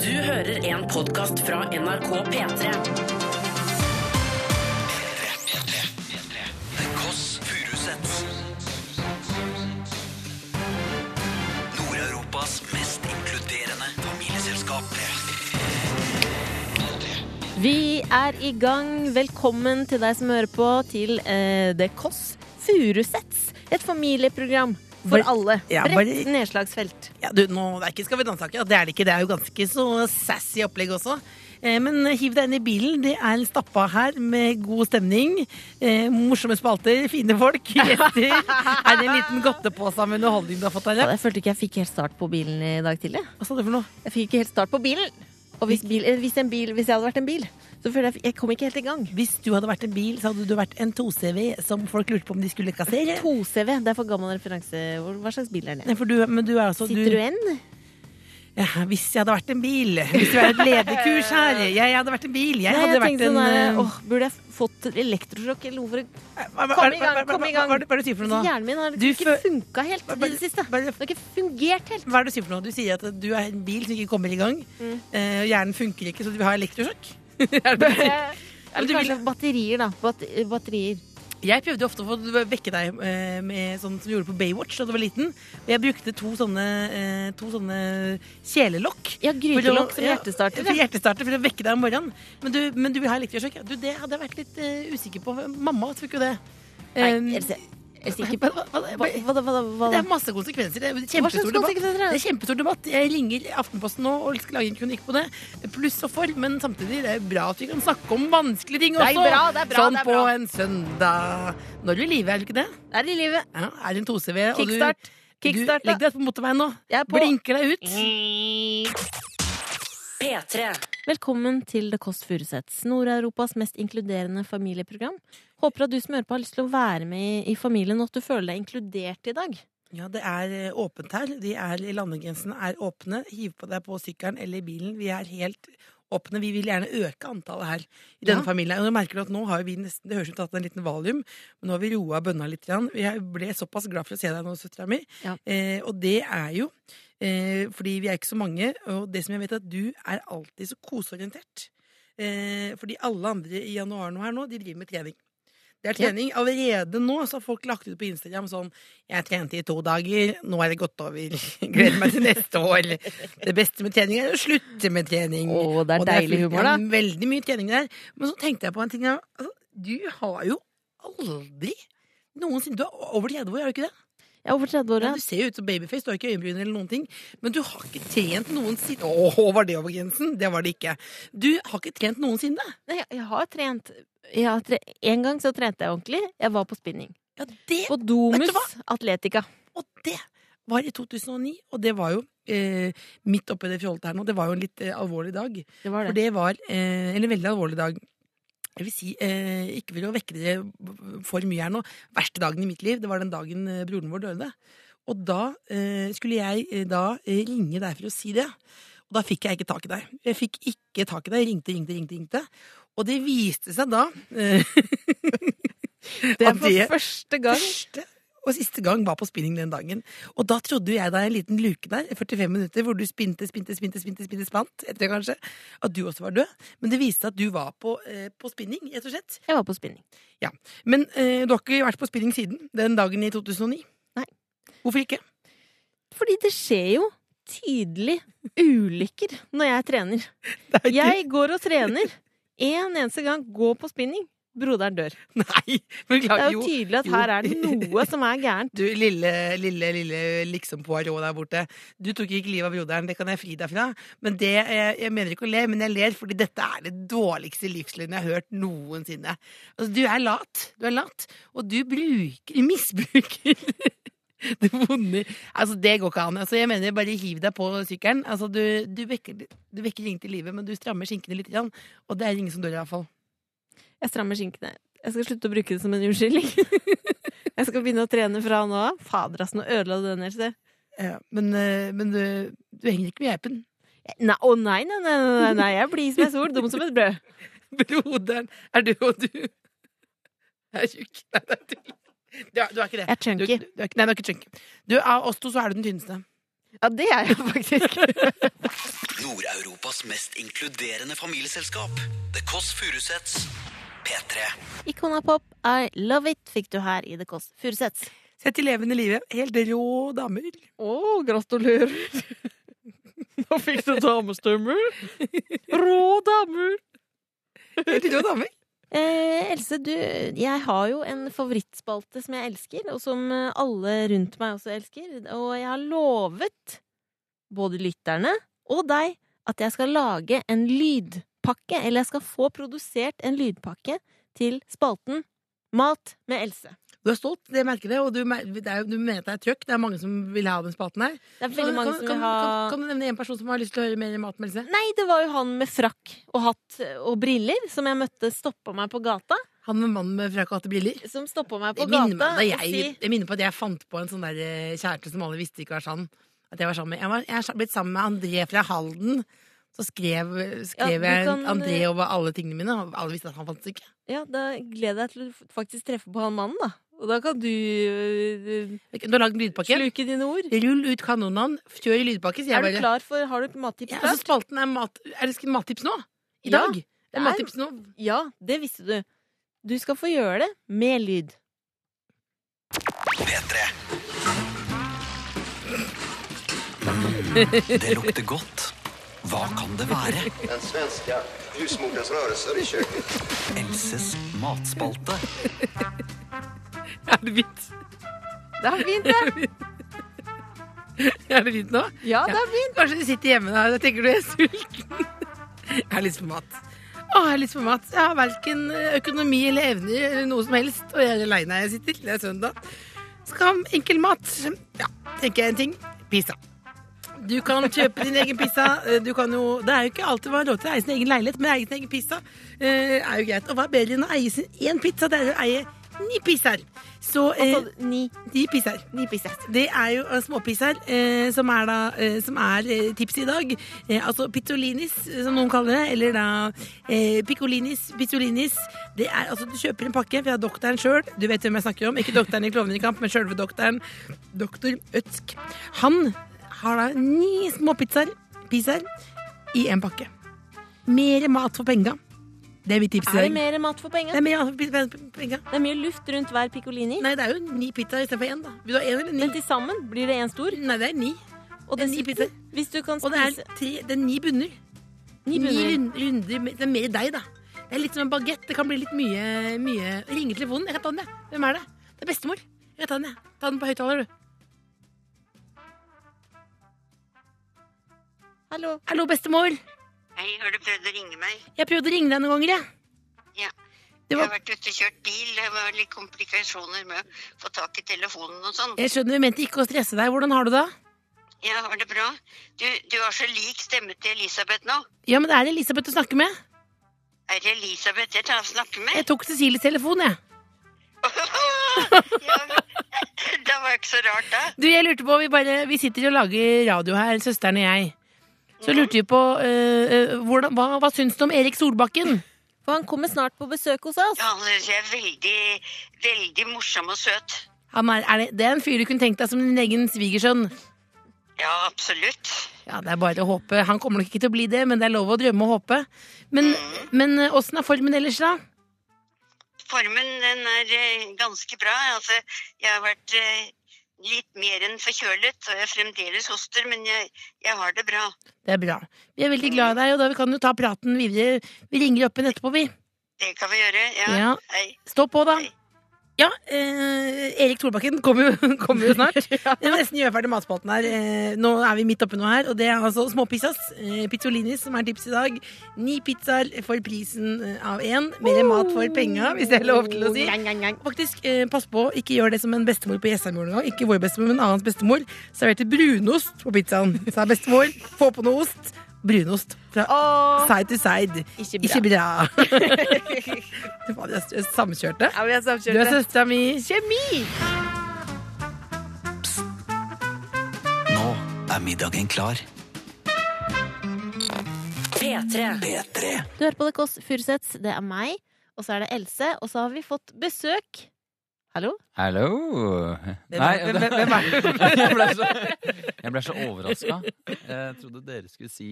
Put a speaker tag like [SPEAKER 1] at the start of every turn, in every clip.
[SPEAKER 1] Du hører en podkast fra NRK P3.
[SPEAKER 2] The Koss Furusets Nord-Europas mest inkluderende familieselskap
[SPEAKER 3] Vi er i gang. Velkommen til deg som hører på til eh, The Kåss Furuseths. Et familieprogram for
[SPEAKER 4] Bare-
[SPEAKER 3] alle.
[SPEAKER 4] ja,
[SPEAKER 3] Bredt
[SPEAKER 4] bare-
[SPEAKER 3] nedslagsfelt.
[SPEAKER 4] Ja, du, nå, det er ikke Skal vi danse, akkurat. Det er det ikke. Det er jo ganske så sassy opplegg også. Eh, Men hiv deg inn i bilen. Det er stappa her med god stemning. Eh, morsomme spalter, fine folk, gjester. Er det en liten godtepose med underholdning du har fått? Eller?
[SPEAKER 3] Jeg følte ikke jeg fikk helt start på bilen i dag tidlig.
[SPEAKER 4] Hva sa du for noe?
[SPEAKER 3] Jeg fikk ikke helt start på bilen. Og hvis, bil, eh, hvis, en bil, hvis jeg hadde vært en bil, så føler jeg jeg kom ikke helt i gang.
[SPEAKER 4] Hvis du hadde vært en bil, så hadde du vært en 2CV som folk lurte på om de skulle kassere.
[SPEAKER 3] 2CV, det er for gammel referanse. Hvor- Hva slags bil er det?
[SPEAKER 4] Nei, For du, men du er altså du,
[SPEAKER 3] Citroën?
[SPEAKER 4] ja, Hvis jeg hadde vært en bil Hvis vi er et lederkurs her Jeg hadde vært en bil. Jeg
[SPEAKER 3] Nei,
[SPEAKER 4] hadde
[SPEAKER 3] jeg
[SPEAKER 4] vært
[SPEAKER 3] tenkte
[SPEAKER 4] en
[SPEAKER 3] sånn der,
[SPEAKER 4] eh,
[SPEAKER 3] åh, Burde jeg fått elektrosjokk eller noe for å
[SPEAKER 4] hva- hva-
[SPEAKER 3] Kom i gang,
[SPEAKER 4] hva- hva-
[SPEAKER 3] kom i
[SPEAKER 4] hva-
[SPEAKER 3] gang.
[SPEAKER 4] Hva hva er det du sier for noe nå?
[SPEAKER 3] Hjernen min har liksom
[SPEAKER 4] Du
[SPEAKER 3] ikke
[SPEAKER 4] fø-
[SPEAKER 3] funka helt i
[SPEAKER 4] Bare-
[SPEAKER 3] det siste. Det
[SPEAKER 4] bare-
[SPEAKER 3] har ikke fungert helt.
[SPEAKER 4] Hva er det du sier for noe? Du sier at du er en bil som ikke kommer i gang. eh, og hjernen funker ikke, så du vil ha elektrosjokk. Er det det? Men
[SPEAKER 3] Eller
[SPEAKER 4] du
[SPEAKER 3] kanskje batterier, da. Bat batterier.
[SPEAKER 4] jeg prøvde ofte å få vekke deg eh, med sånn som du gjorde på Baywatch da du var liten. Og jeg brukte to sånne, eh, to sånne kjelelokk.
[SPEAKER 3] Ja, grytelokk
[SPEAKER 4] For å-
[SPEAKER 3] som
[SPEAKER 4] ja,
[SPEAKER 3] hjertestarter.
[SPEAKER 4] For
[SPEAKER 3] Ja.
[SPEAKER 4] hjertestarter, for å vekke deg om morgenen. Men du, men du vil ha elektrosjokk? ja. Du, det hadde jeg vært litt eh, usikker på. Mamma fikk jo det.
[SPEAKER 3] Nei,
[SPEAKER 4] Um,
[SPEAKER 3] er du sikker på
[SPEAKER 4] hva- hva-
[SPEAKER 3] Hva,
[SPEAKER 4] hva-
[SPEAKER 3] hva, hva, hva,
[SPEAKER 4] Det
[SPEAKER 3] hva?
[SPEAKER 4] er masse konsekvenser. Det er
[SPEAKER 3] Hva slags
[SPEAKER 4] kjempestor debatt.
[SPEAKER 3] konsekvenser er
[SPEAKER 4] Det
[SPEAKER 3] det?
[SPEAKER 4] er kjempestor debatt. Jeg ringer Aftenposten nå og skal lage en kronikk på det. Pluss og for, men samtidig det er bra at vi kan snakke om vanskelige ting
[SPEAKER 3] Det
[SPEAKER 4] også.
[SPEAKER 3] er bra, det er bra,
[SPEAKER 4] sånn
[SPEAKER 3] det er bra.
[SPEAKER 4] på en søndag. Nå er du i live, er du ikke det?
[SPEAKER 3] Det er i livet.
[SPEAKER 4] Ja, er det en 2CV? og du-
[SPEAKER 3] Kickstart. Kickstart,
[SPEAKER 4] Du, legg deg på motorveien nå.
[SPEAKER 3] Jeg er på. Mm.
[SPEAKER 4] Blinker deg ut.
[SPEAKER 1] P3.
[SPEAKER 3] Velkommen til The Kåss Furuseths, Nord-Europas mest inkluderende familieprogram. Håper at du som hører på, har lyst til å være med i, i familien, og at du føler deg inkludert i dag.
[SPEAKER 4] Ja, det er eh, åpent her. De er, landegrensene er åpne. Hiv på deg på sykkelen eller i bilen. Vi er helt åpne. Vi vil gjerne øke antallet her i denne
[SPEAKER 3] Ja.
[SPEAKER 4] familien. Og nå merker du at nå har vi nesten, Det høres ut som vi har tatt en liten valium, men nå har vi roa bønna litt. grann. Jeg ble såpass glad for å se deg nå, søstera mi.
[SPEAKER 3] Ja.
[SPEAKER 4] Eh, og det er jo eh, fordi vi er ikke så mange, og det som jeg vet, er at du er alltid så koseorientert. Eh, fordi alle andre i januar nå her nå, de driver med trening. Det er
[SPEAKER 3] Ja.
[SPEAKER 4] trening. Allerede nå så har folk lagt ut på Instagram sånn 'Jeg trente i to dager, nå er det gått over. Gleder meg til neste år.' 'Det beste med trening er å slutte med trening.'
[SPEAKER 3] Å, det er
[SPEAKER 4] Og
[SPEAKER 3] deilig
[SPEAKER 4] fullt-
[SPEAKER 3] humor, da.
[SPEAKER 4] ja, Veldig mye trening der. Men så tenkte jeg på en ting. ja. Altså, du har jo aldri noensinne Du er over 30 år, er du ikke det?
[SPEAKER 3] Jeg er over 30 år,
[SPEAKER 4] Ja,
[SPEAKER 3] ja.
[SPEAKER 4] du ser jo ut som babyface, du har ikke øyenbryn eller noen ting. Men du har ikke trent noensinne Å, var det over grensen? Det var det ikke. Du har ikke trent noensinne.
[SPEAKER 3] Nei, jeg, jeg har trent. Jeg har tre... En gang så trente jeg ordentlig. Jeg var på spinning.
[SPEAKER 4] Ja, det
[SPEAKER 3] På Domus
[SPEAKER 4] Vet du
[SPEAKER 3] Atletica.
[SPEAKER 4] Og det var i 2009, og det var jo eh, midt oppi det fjollete her nå. Det var jo en litt eh, alvorlig dag.
[SPEAKER 3] Det var
[SPEAKER 4] For
[SPEAKER 3] det.
[SPEAKER 4] det var eh, en veldig alvorlig dag. Jeg vil si, eh, ikke vil å vekke dere for mye her nå, verste dagen i mitt liv, det var den dagen eh, broren vår døde. Og da eh, skulle jeg eh, da eh, ringe deg for å si det. Og da fikk jeg ikke tak i deg. Jeg fikk ikke tak i deg. Jeg ringte, ringte, ringte. ringte. Og det viste seg da eh,
[SPEAKER 3] Det er
[SPEAKER 4] at
[SPEAKER 3] for første gang.
[SPEAKER 4] Første og siste gang var på spinning den dagen. Og da trodde jo jeg deg en liten luke der, 45 minutter, hvor du spinte, spinte, spinte, spinte, spinte, spant, etter det kanskje, at du også var død. Men det viste seg at du var på, eh, på spinning, rett og slett.
[SPEAKER 3] Jeg var på spinning.
[SPEAKER 4] Men eh, du har ikke vært på spinning siden, den dagen i 2009.
[SPEAKER 3] Nei.
[SPEAKER 4] Hvorfor ikke?
[SPEAKER 3] Fordi det skjer jo tydelig ulykker når jeg trener.
[SPEAKER 4] Det er ikke...
[SPEAKER 3] Jeg går og trener. En eneste gang går på spinning. Broderen dør.
[SPEAKER 4] Nei, men
[SPEAKER 3] Det
[SPEAKER 4] klart,
[SPEAKER 3] er jo
[SPEAKER 4] jo.
[SPEAKER 3] tydelig at
[SPEAKER 4] jo.
[SPEAKER 3] her er det noe som er gærent.
[SPEAKER 4] Du lille, lille, lille liksom Poirot der borte. Du tok ikke livet av broderen, det kan jeg fri deg fra. Men det, jeg, jeg mener ikke å le, men jeg ler fordi dette er det dårligste livslinjen jeg har hørt noensinne. Altså, du er lat. Du er lat. Og du bruker, misbruker det vonde Altså, det går ikke an. Altså, jeg mener, bare hiv deg på sykkelen. Altså, du, du vekker, du vekker ingen til live, men du strammer skinkene litt. Grann. Og det er ingen som dør, iallfall.
[SPEAKER 3] Jeg strammer skinkene. Jeg skal slutte å bruke det som en unnskyldning. Jeg skal begynne å trene fra nå av. Fader, ass, nå ødela du den helt. se.
[SPEAKER 4] Ja, men eh, men du, du henger ikke med geipen.
[SPEAKER 3] Nei, å nei, nei, nei, nei, nei, jeg blir som ei sol, dum som et brød.
[SPEAKER 4] Broderen er du, og du er tjukk. Nei, det er tull. Du er, du er ikke det.
[SPEAKER 3] Jeg er chunky.
[SPEAKER 4] Du, du er, ikke- nei, du er ikke chunky. Du, av oss to så er du den tynneste.
[SPEAKER 5] Ja, det er jeg faktisk.
[SPEAKER 2] Nord-Europas mest inkluderende familieselskap. The Kåss Furuseths. P3.
[SPEAKER 3] Ikona Pop, I Love It fikk du her i The Kåss Furuseths.
[SPEAKER 4] Sett i levende livet. Helt rå damer.
[SPEAKER 5] Å, gratulerer. Nå fikk du damestemmer. Rå damer.
[SPEAKER 4] Helt rå damer.
[SPEAKER 3] Eh, Else, du, jeg har jo en favorittspalte som jeg elsker, og som eh, alle rundt meg også elsker. Og jeg har lovet både lytterne og deg at jeg skal lage en lydpakke, eller jeg skal få produsert en lydpakke til spalten Mat med Else.
[SPEAKER 4] Du er stolt, det merker jeg, og du, mer- det er, jo- du mener at det er trøkk. Det er mange som vil ha den spaten her.
[SPEAKER 3] Det er veldig
[SPEAKER 4] Kan-
[SPEAKER 3] mange
[SPEAKER 4] kan,
[SPEAKER 3] som
[SPEAKER 4] kan,
[SPEAKER 3] vil ha
[SPEAKER 4] kan, kan du nevne en person som har lyst til å høre mer om matmeldelse?
[SPEAKER 3] Nei, det var jo han med frakk og hatt og briller som jeg møtte stoppa meg på gata.
[SPEAKER 4] Han med mannen med frakk og hatt briller?
[SPEAKER 3] Som stoppa meg på
[SPEAKER 4] Jeg minner,
[SPEAKER 3] gata
[SPEAKER 4] meg- da
[SPEAKER 3] og
[SPEAKER 4] jeg,
[SPEAKER 3] sier
[SPEAKER 4] jeg minner på at jeg fant på en sånn der eh, kjæreste som alle visste ikke var sann. At jeg var sammen med Jeg, var, jeg er sa- blitt sammen med André fra Halden. Så skrev,
[SPEAKER 3] Ja,
[SPEAKER 4] skrev
[SPEAKER 3] du
[SPEAKER 4] jeg
[SPEAKER 3] kan,
[SPEAKER 4] André
[SPEAKER 3] eh,
[SPEAKER 4] over alle tingene mine, og alle visste at han fantes ikke.
[SPEAKER 3] Ja, da gleder jeg til å faktisk treffe på han mannen, da. Og da kan du øh,
[SPEAKER 4] Ok, Du har lagd en lydpakke.
[SPEAKER 3] sluke dine ord.
[SPEAKER 4] Rull ut kanonene, kjør i lydpakke, sier
[SPEAKER 3] Er
[SPEAKER 4] jeg
[SPEAKER 3] du
[SPEAKER 4] bare.
[SPEAKER 3] klar for Har du et mattips
[SPEAKER 4] Ja,
[SPEAKER 3] klart?
[SPEAKER 4] altså, spalten er, mat, er det sk- mattips nå? I
[SPEAKER 3] Ja,
[SPEAKER 4] dag? Det
[SPEAKER 3] er-
[SPEAKER 4] er mattips nå.
[SPEAKER 3] Ja, det visste du. Du skal få gjøre det med lyd.
[SPEAKER 2] P3. Det lukter godt. Hva kan det være?
[SPEAKER 6] Den svenska husmorens rörelser i köket.
[SPEAKER 2] Elses matspalte.
[SPEAKER 4] Er det fint?
[SPEAKER 5] Det er fint, det.
[SPEAKER 4] Er det fint nå?
[SPEAKER 5] Ja, det er fint.
[SPEAKER 4] Kanskje du sitter hjemme da og tenker du er sulten. Jeg har lyst på mat. Å, jeg har lyst på mat. Jeg har verken økonomi eller evner eller noe som helst, og jeg er aleine jeg sitter. Det er søndag. Skal ha enkel mat. Ja, tenker jeg en ting. Pizza. Du kan kjøpe din egen pizza. Eh, Du kan jo, det er jo ikke alltid man har råd til å eie sin egen leilighet, men eie sin egen pizza eh, er jo greit. Og hva er bedre enn å eie sin én pizza? Det er å eie ni pizzaer. Så eh,
[SPEAKER 3] Altså, ni,
[SPEAKER 4] ni pizzaer.
[SPEAKER 3] ni pisser.
[SPEAKER 4] Det er jo eh, småpisser, eh, som er, da, eh, som er eh, tipset i dag. Eh, altså pizzolinis, eh, som noen kaller det. Eller da eh, piccolinis, pizzolinis. Det er altså, du kjøper en pakke fra doktoren sjøl. Du vet hvem jeg snakker om. Ikke doktoren i Klovnekamp, men sjølve doktoren. Doktor Øtsk. Han har da ni småpizzaer pisser, i én pakke. Mer mat for penga. Det er mitt tips
[SPEAKER 3] Er
[SPEAKER 4] i
[SPEAKER 3] det
[SPEAKER 4] dag.
[SPEAKER 3] mer mat for
[SPEAKER 4] Det
[SPEAKER 3] penga?
[SPEAKER 4] er mer mat for penga.
[SPEAKER 3] Det er mye luft rundt hver piccolini,
[SPEAKER 4] Nei, det er jo ni pizzaer istedenfor én, da. Vil du ha én eller
[SPEAKER 3] men
[SPEAKER 4] ni?
[SPEAKER 3] til sammen blir det én stor.
[SPEAKER 4] Nei, det er ni.
[SPEAKER 3] Og
[SPEAKER 4] Det er ni
[SPEAKER 3] dessuten, hvis du kan
[SPEAKER 4] Og det er,
[SPEAKER 3] spise
[SPEAKER 4] tre, det er ni bunner.
[SPEAKER 3] ni bunner
[SPEAKER 4] rund- runder. med- Det er mer deg, da. Det er litt som en bagett. Det kan bli litt mye, mye. Ringe telefonen. Jeg kan ta den, jeg. Hvem er det? Det er bestemor. Jeg tar den, jeg. Ta den på høyttaler, du.
[SPEAKER 3] Hallo.
[SPEAKER 4] Hallo, bestemor.
[SPEAKER 7] Hei, har du prøvd å ringe meg?
[SPEAKER 4] Jeg prøvde å ringe deg noen ganger, jeg.
[SPEAKER 7] Ja.
[SPEAKER 4] Det
[SPEAKER 7] Jeg
[SPEAKER 4] var-
[SPEAKER 7] har vært ute og kjørt bil. Det var litt komplikasjoner med å få tak i telefonen og sånn.
[SPEAKER 4] Jeg skjønner vi mente ikke å stresse deg. Hvordan har du det?
[SPEAKER 7] Ja, har det bra? Du, du har så lik stemme til Elisabeth nå.
[SPEAKER 4] Ja, men det er Elisabeth du snakker med.
[SPEAKER 7] Er det Elisabeth jeg tar og snakker
[SPEAKER 4] Jeg
[SPEAKER 7] med?
[SPEAKER 4] tok Cecilies telefon, jeg.
[SPEAKER 7] ja, men- det var ikke så rart, da.
[SPEAKER 4] Du, jeg lurte på, vi, bare, vi sitter og lager radio her, søsteren og jeg. Så lurte vi på øh, øh, hvordan, hva, hva syns du om Erik Solbakken?
[SPEAKER 3] For han kommer snart på besøk hos oss.
[SPEAKER 7] Han synes jeg er veldig, veldig morsom og søt.
[SPEAKER 4] Han er, er det, det er en fyr du kunne tenkt deg som din egen svigersønn.
[SPEAKER 7] Ja, absolutt.
[SPEAKER 4] Ja, det er bare å håpe. Han kommer nok ikke til å bli det, men det er lov å drømme og håpe. Men, men eh, åssen er formen ellers, da?
[SPEAKER 7] Formen den er eh, ganske bra. Altså, jeg har vært eh, litt mer enn forkjølet, og jeg fremdeles hoster, men jeg, jeg har det bra.
[SPEAKER 4] Det er bra. Vi er veldig glad i deg, og da vi kan jo ta praten videre. Vi ringer opp igjen etterpå, vi.
[SPEAKER 7] Det kan vi gjøre, ja.
[SPEAKER 4] Ja.
[SPEAKER 7] Hei.
[SPEAKER 4] Stå på, da. Ja, eh, Erik Thorbakken kommer jo, kommer jo snart. Vi må nesten gjøre ferdig matspalten her. Eh, nå er vi midt oppe nå her, og det er altså småpizzas. Eh, pizzolinis, som er tipset i dag. Ni pizzaer for prisen eh, av én. Mer mat for penga, hvis det er lov til å si. Faktisk, eh, pass på, ikke gjør det som en bestemor på Jessheimjorden en gang. Ikke vår bestemor, men annens bestemor. Serverte brunost på pizzaen. Sa bestemor, få på noe ost. Brunost fra
[SPEAKER 5] Åh,
[SPEAKER 4] side to side.
[SPEAKER 5] ikke bra.
[SPEAKER 4] Ikke bra. Det var det jeg samkjørte.
[SPEAKER 5] Ja, vi er
[SPEAKER 4] Du er
[SPEAKER 5] samkjørte.
[SPEAKER 4] søstera mi.
[SPEAKER 5] Kjemi!
[SPEAKER 2] Nå er middagen klar.
[SPEAKER 1] P3.
[SPEAKER 2] P3.
[SPEAKER 3] Du hører på The Kåss Furuseths, det er meg, og så er det Else, og så har vi fått besøk
[SPEAKER 5] Hallo?
[SPEAKER 8] Hallo!
[SPEAKER 4] Hvem, hvem, hvem, hvem er det?
[SPEAKER 8] jeg ble så, jeg ble så overraska. Jeg trodde dere skulle si,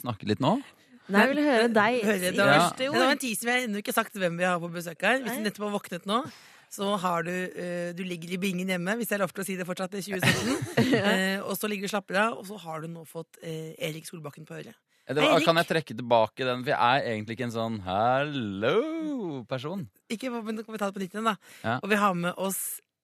[SPEAKER 8] snakke litt nå.
[SPEAKER 3] Nei, jeg vil høre deg
[SPEAKER 4] Høre
[SPEAKER 3] i
[SPEAKER 4] da.
[SPEAKER 3] første
[SPEAKER 4] Det var
[SPEAKER 3] ord.
[SPEAKER 4] en teaser vi har ennå ikke sagt hvem vi har på besøk her. Hvis
[SPEAKER 3] Nei.
[SPEAKER 4] du nettopp har våknet nå, så har du, eh, du ligger i bingen hjemme, hvis jeg har lov til å si det fortsatt, i 2017. Eh, og så ligger du og slapper av, og så har du nå fått eh, Erik Solbakken på øret.
[SPEAKER 8] Det var, ah, kan jeg trekke tilbake den? For jeg er egentlig ikke en sånn hallo-person.
[SPEAKER 4] Ikke, men nå kan vi ta det på nytt igjen, da.
[SPEAKER 8] Ja.
[SPEAKER 4] Og vi har med oss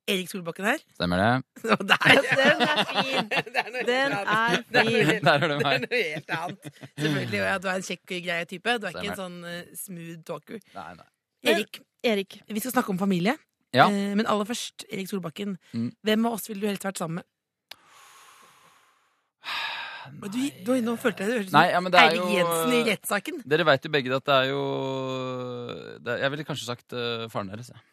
[SPEAKER 4] Erik Solbakken her.
[SPEAKER 8] Stemmer det?
[SPEAKER 4] Og der!
[SPEAKER 3] Den er fin!
[SPEAKER 4] Det er noe helt
[SPEAKER 3] Den
[SPEAKER 4] annet.
[SPEAKER 3] er
[SPEAKER 4] Det er noe
[SPEAKER 3] fin.
[SPEAKER 4] helt-
[SPEAKER 8] Der er det
[SPEAKER 4] det er
[SPEAKER 8] meg.
[SPEAKER 4] noe helt annet. Selvfølgelig. Og ja, du er en kjekk, greie type. Du er ikke en sånn eh, smooth talker.
[SPEAKER 8] Nei, nei.
[SPEAKER 4] Erik,
[SPEAKER 3] Erik.
[SPEAKER 4] vi skal snakke om familie.
[SPEAKER 8] Eh, Ja.
[SPEAKER 4] Eh, Men aller først, Erik Solbakken.
[SPEAKER 8] Mm.
[SPEAKER 4] Hvem av oss ville du helst vært sammen med? Og Du, du, nå følte jeg det hørtes ut som
[SPEAKER 8] Nei, ja, men det er
[SPEAKER 4] Eirik
[SPEAKER 8] jo-
[SPEAKER 4] Jensen i rettssaken.
[SPEAKER 8] Dere veit jo begge at det er jo det er, Jeg ville kanskje sagt eh, faren deres, jeg.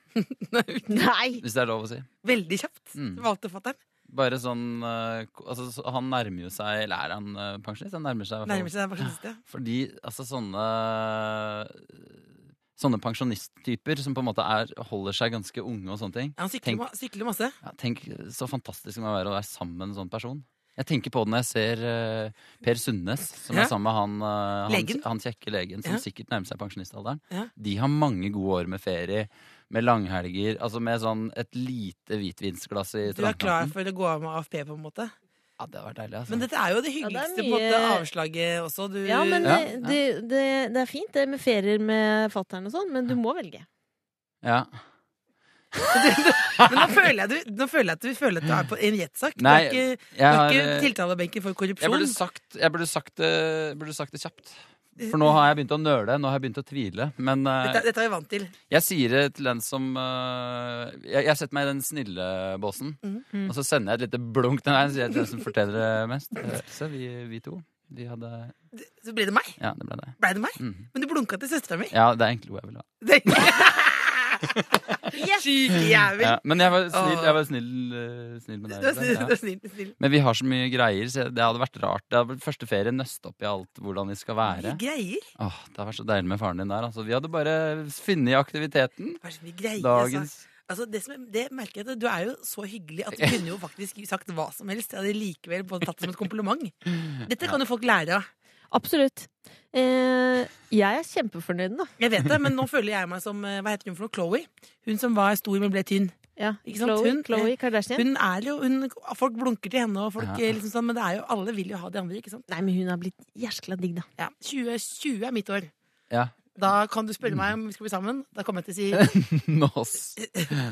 [SPEAKER 3] Nei!
[SPEAKER 8] hvis det er lov å si.
[SPEAKER 4] Veldig kjapt.
[SPEAKER 8] Mm.
[SPEAKER 4] Valgte fatter'n.
[SPEAKER 8] Bare sånn eh, ko- altså, så- Han nærmer jo seg Eller er han eh, pensjonist? Han nærmer seg i hvert fall
[SPEAKER 4] Nærmer seg den pensjoniste.
[SPEAKER 8] Fordi altså sånne Sånne pensjonisttyper som på en måte er, holder seg ganske unge og sånne ting.
[SPEAKER 4] Ja, han sykler,
[SPEAKER 8] Tenk-
[SPEAKER 4] ma- sykler masse.
[SPEAKER 8] Ja, tenk så fantastisk det må være å være sammen med en sånn person. Jeg tenker på det når jeg ser eh, Per Sundnes, som
[SPEAKER 4] Ja.
[SPEAKER 8] er sammen med han, eh, han,
[SPEAKER 4] Legen.
[SPEAKER 8] han kjekke legen, som
[SPEAKER 4] Ja.
[SPEAKER 8] sikkert nærmer seg pensjonistalderen.
[SPEAKER 4] Ja.
[SPEAKER 8] De har mange gode år med ferie, med langhelger, altså med sånn et lite hvitvinsglass i
[SPEAKER 4] Du er klar
[SPEAKER 8] strandkanten.
[SPEAKER 4] for å gå av med AFP, på en måte.
[SPEAKER 8] Ja, det hadde vært deilig, altså.
[SPEAKER 4] Men dette er jo det
[SPEAKER 3] Ja, det er
[SPEAKER 4] hyggeligste på en måte,
[SPEAKER 3] mye-
[SPEAKER 4] avslaget også. Du,
[SPEAKER 3] Ja, men
[SPEAKER 8] Ja,
[SPEAKER 3] det,
[SPEAKER 8] ja.
[SPEAKER 3] det, det, det er fint det med ferier med fattern og sånn, men du må velge.
[SPEAKER 8] Ja.
[SPEAKER 4] Men nå føler jeg, du, nå føler jeg at du føler at du er på en rettssak. Du
[SPEAKER 8] Nei,
[SPEAKER 4] er ikke, du
[SPEAKER 8] Jeg
[SPEAKER 4] er
[SPEAKER 8] har
[SPEAKER 4] ikke
[SPEAKER 8] eh,
[SPEAKER 4] tiltalebenken for
[SPEAKER 8] Jeg
[SPEAKER 4] korrupsjon.
[SPEAKER 8] burde sagt, jeg burde sagt, det, burde sagt det kjapt. For nå har jeg begynt å nøle, nå har jeg begynt å tvile. Men eh,
[SPEAKER 4] Eh, Dette, dette er vi vant til.
[SPEAKER 8] jeg sier det til den som eh, jeg, jeg setter meg i den snille båsen,
[SPEAKER 4] Mm.
[SPEAKER 8] og så sender jeg et lite blunk til deg, sier jeg til den som forteller det mest. Eh, Se, vi, vi to. Vi hadde
[SPEAKER 4] Så ble det meg.
[SPEAKER 8] Ja, det ble det.
[SPEAKER 4] Ble det meg?
[SPEAKER 8] Mhm.
[SPEAKER 4] Men du blunka til søstera mi.
[SPEAKER 8] Ja, det er egentlig hvor jeg ville ha.
[SPEAKER 4] Syke jævel.
[SPEAKER 8] Ja, men jeg var snill, jeg var snill, eh, snill med
[SPEAKER 4] Du
[SPEAKER 8] deg.
[SPEAKER 4] er snill,
[SPEAKER 8] Ja.
[SPEAKER 4] du er snill, du er snill.
[SPEAKER 8] Men vi har så mye greier, så det hadde vært rart. Det hadde vært første ferie nøste opp i alt hvordan vi skal
[SPEAKER 4] Vi
[SPEAKER 8] være.
[SPEAKER 4] greier.
[SPEAKER 8] Åh, det hadde vært så deilig med faren din der. Altså, vi hadde bare funnet aktiviteten.
[SPEAKER 4] Hva er det som vi greier? Altså?
[SPEAKER 8] Dagens
[SPEAKER 4] Altså, det, som, er- det merker jeg at Du er jo så hyggelig at du kunne jo faktisk sagt hva som helst. Jeg hadde likevel både tatt det som et kompliment. Dette kan jo folk lære av.
[SPEAKER 3] Absolutt. Eh, jeg er kjempefornøyd nå.
[SPEAKER 4] Jeg vet det, men nå føler jeg meg som eh, Hva heter hun for noe? Chloé? Hun som var stor, men ble tynn.
[SPEAKER 3] Ja,
[SPEAKER 4] Ikke sant?
[SPEAKER 3] Khloe,
[SPEAKER 4] Hun-
[SPEAKER 3] Khloe Kardashian.
[SPEAKER 4] Hun er jo, hun, Folk blunker til henne, og folk,
[SPEAKER 8] Ja.
[SPEAKER 4] eh, liksom sånn, men det er jo, alle vil jo ha de andre. ikke sant?
[SPEAKER 3] Nei, men hun har blitt jæskla digg, da.
[SPEAKER 4] Ja, 20, 20 er mitt år.
[SPEAKER 8] Ja.
[SPEAKER 4] Da kan du spørre meg om vi skal bli sammen. Da kommer jeg til å si
[SPEAKER 8] Nos,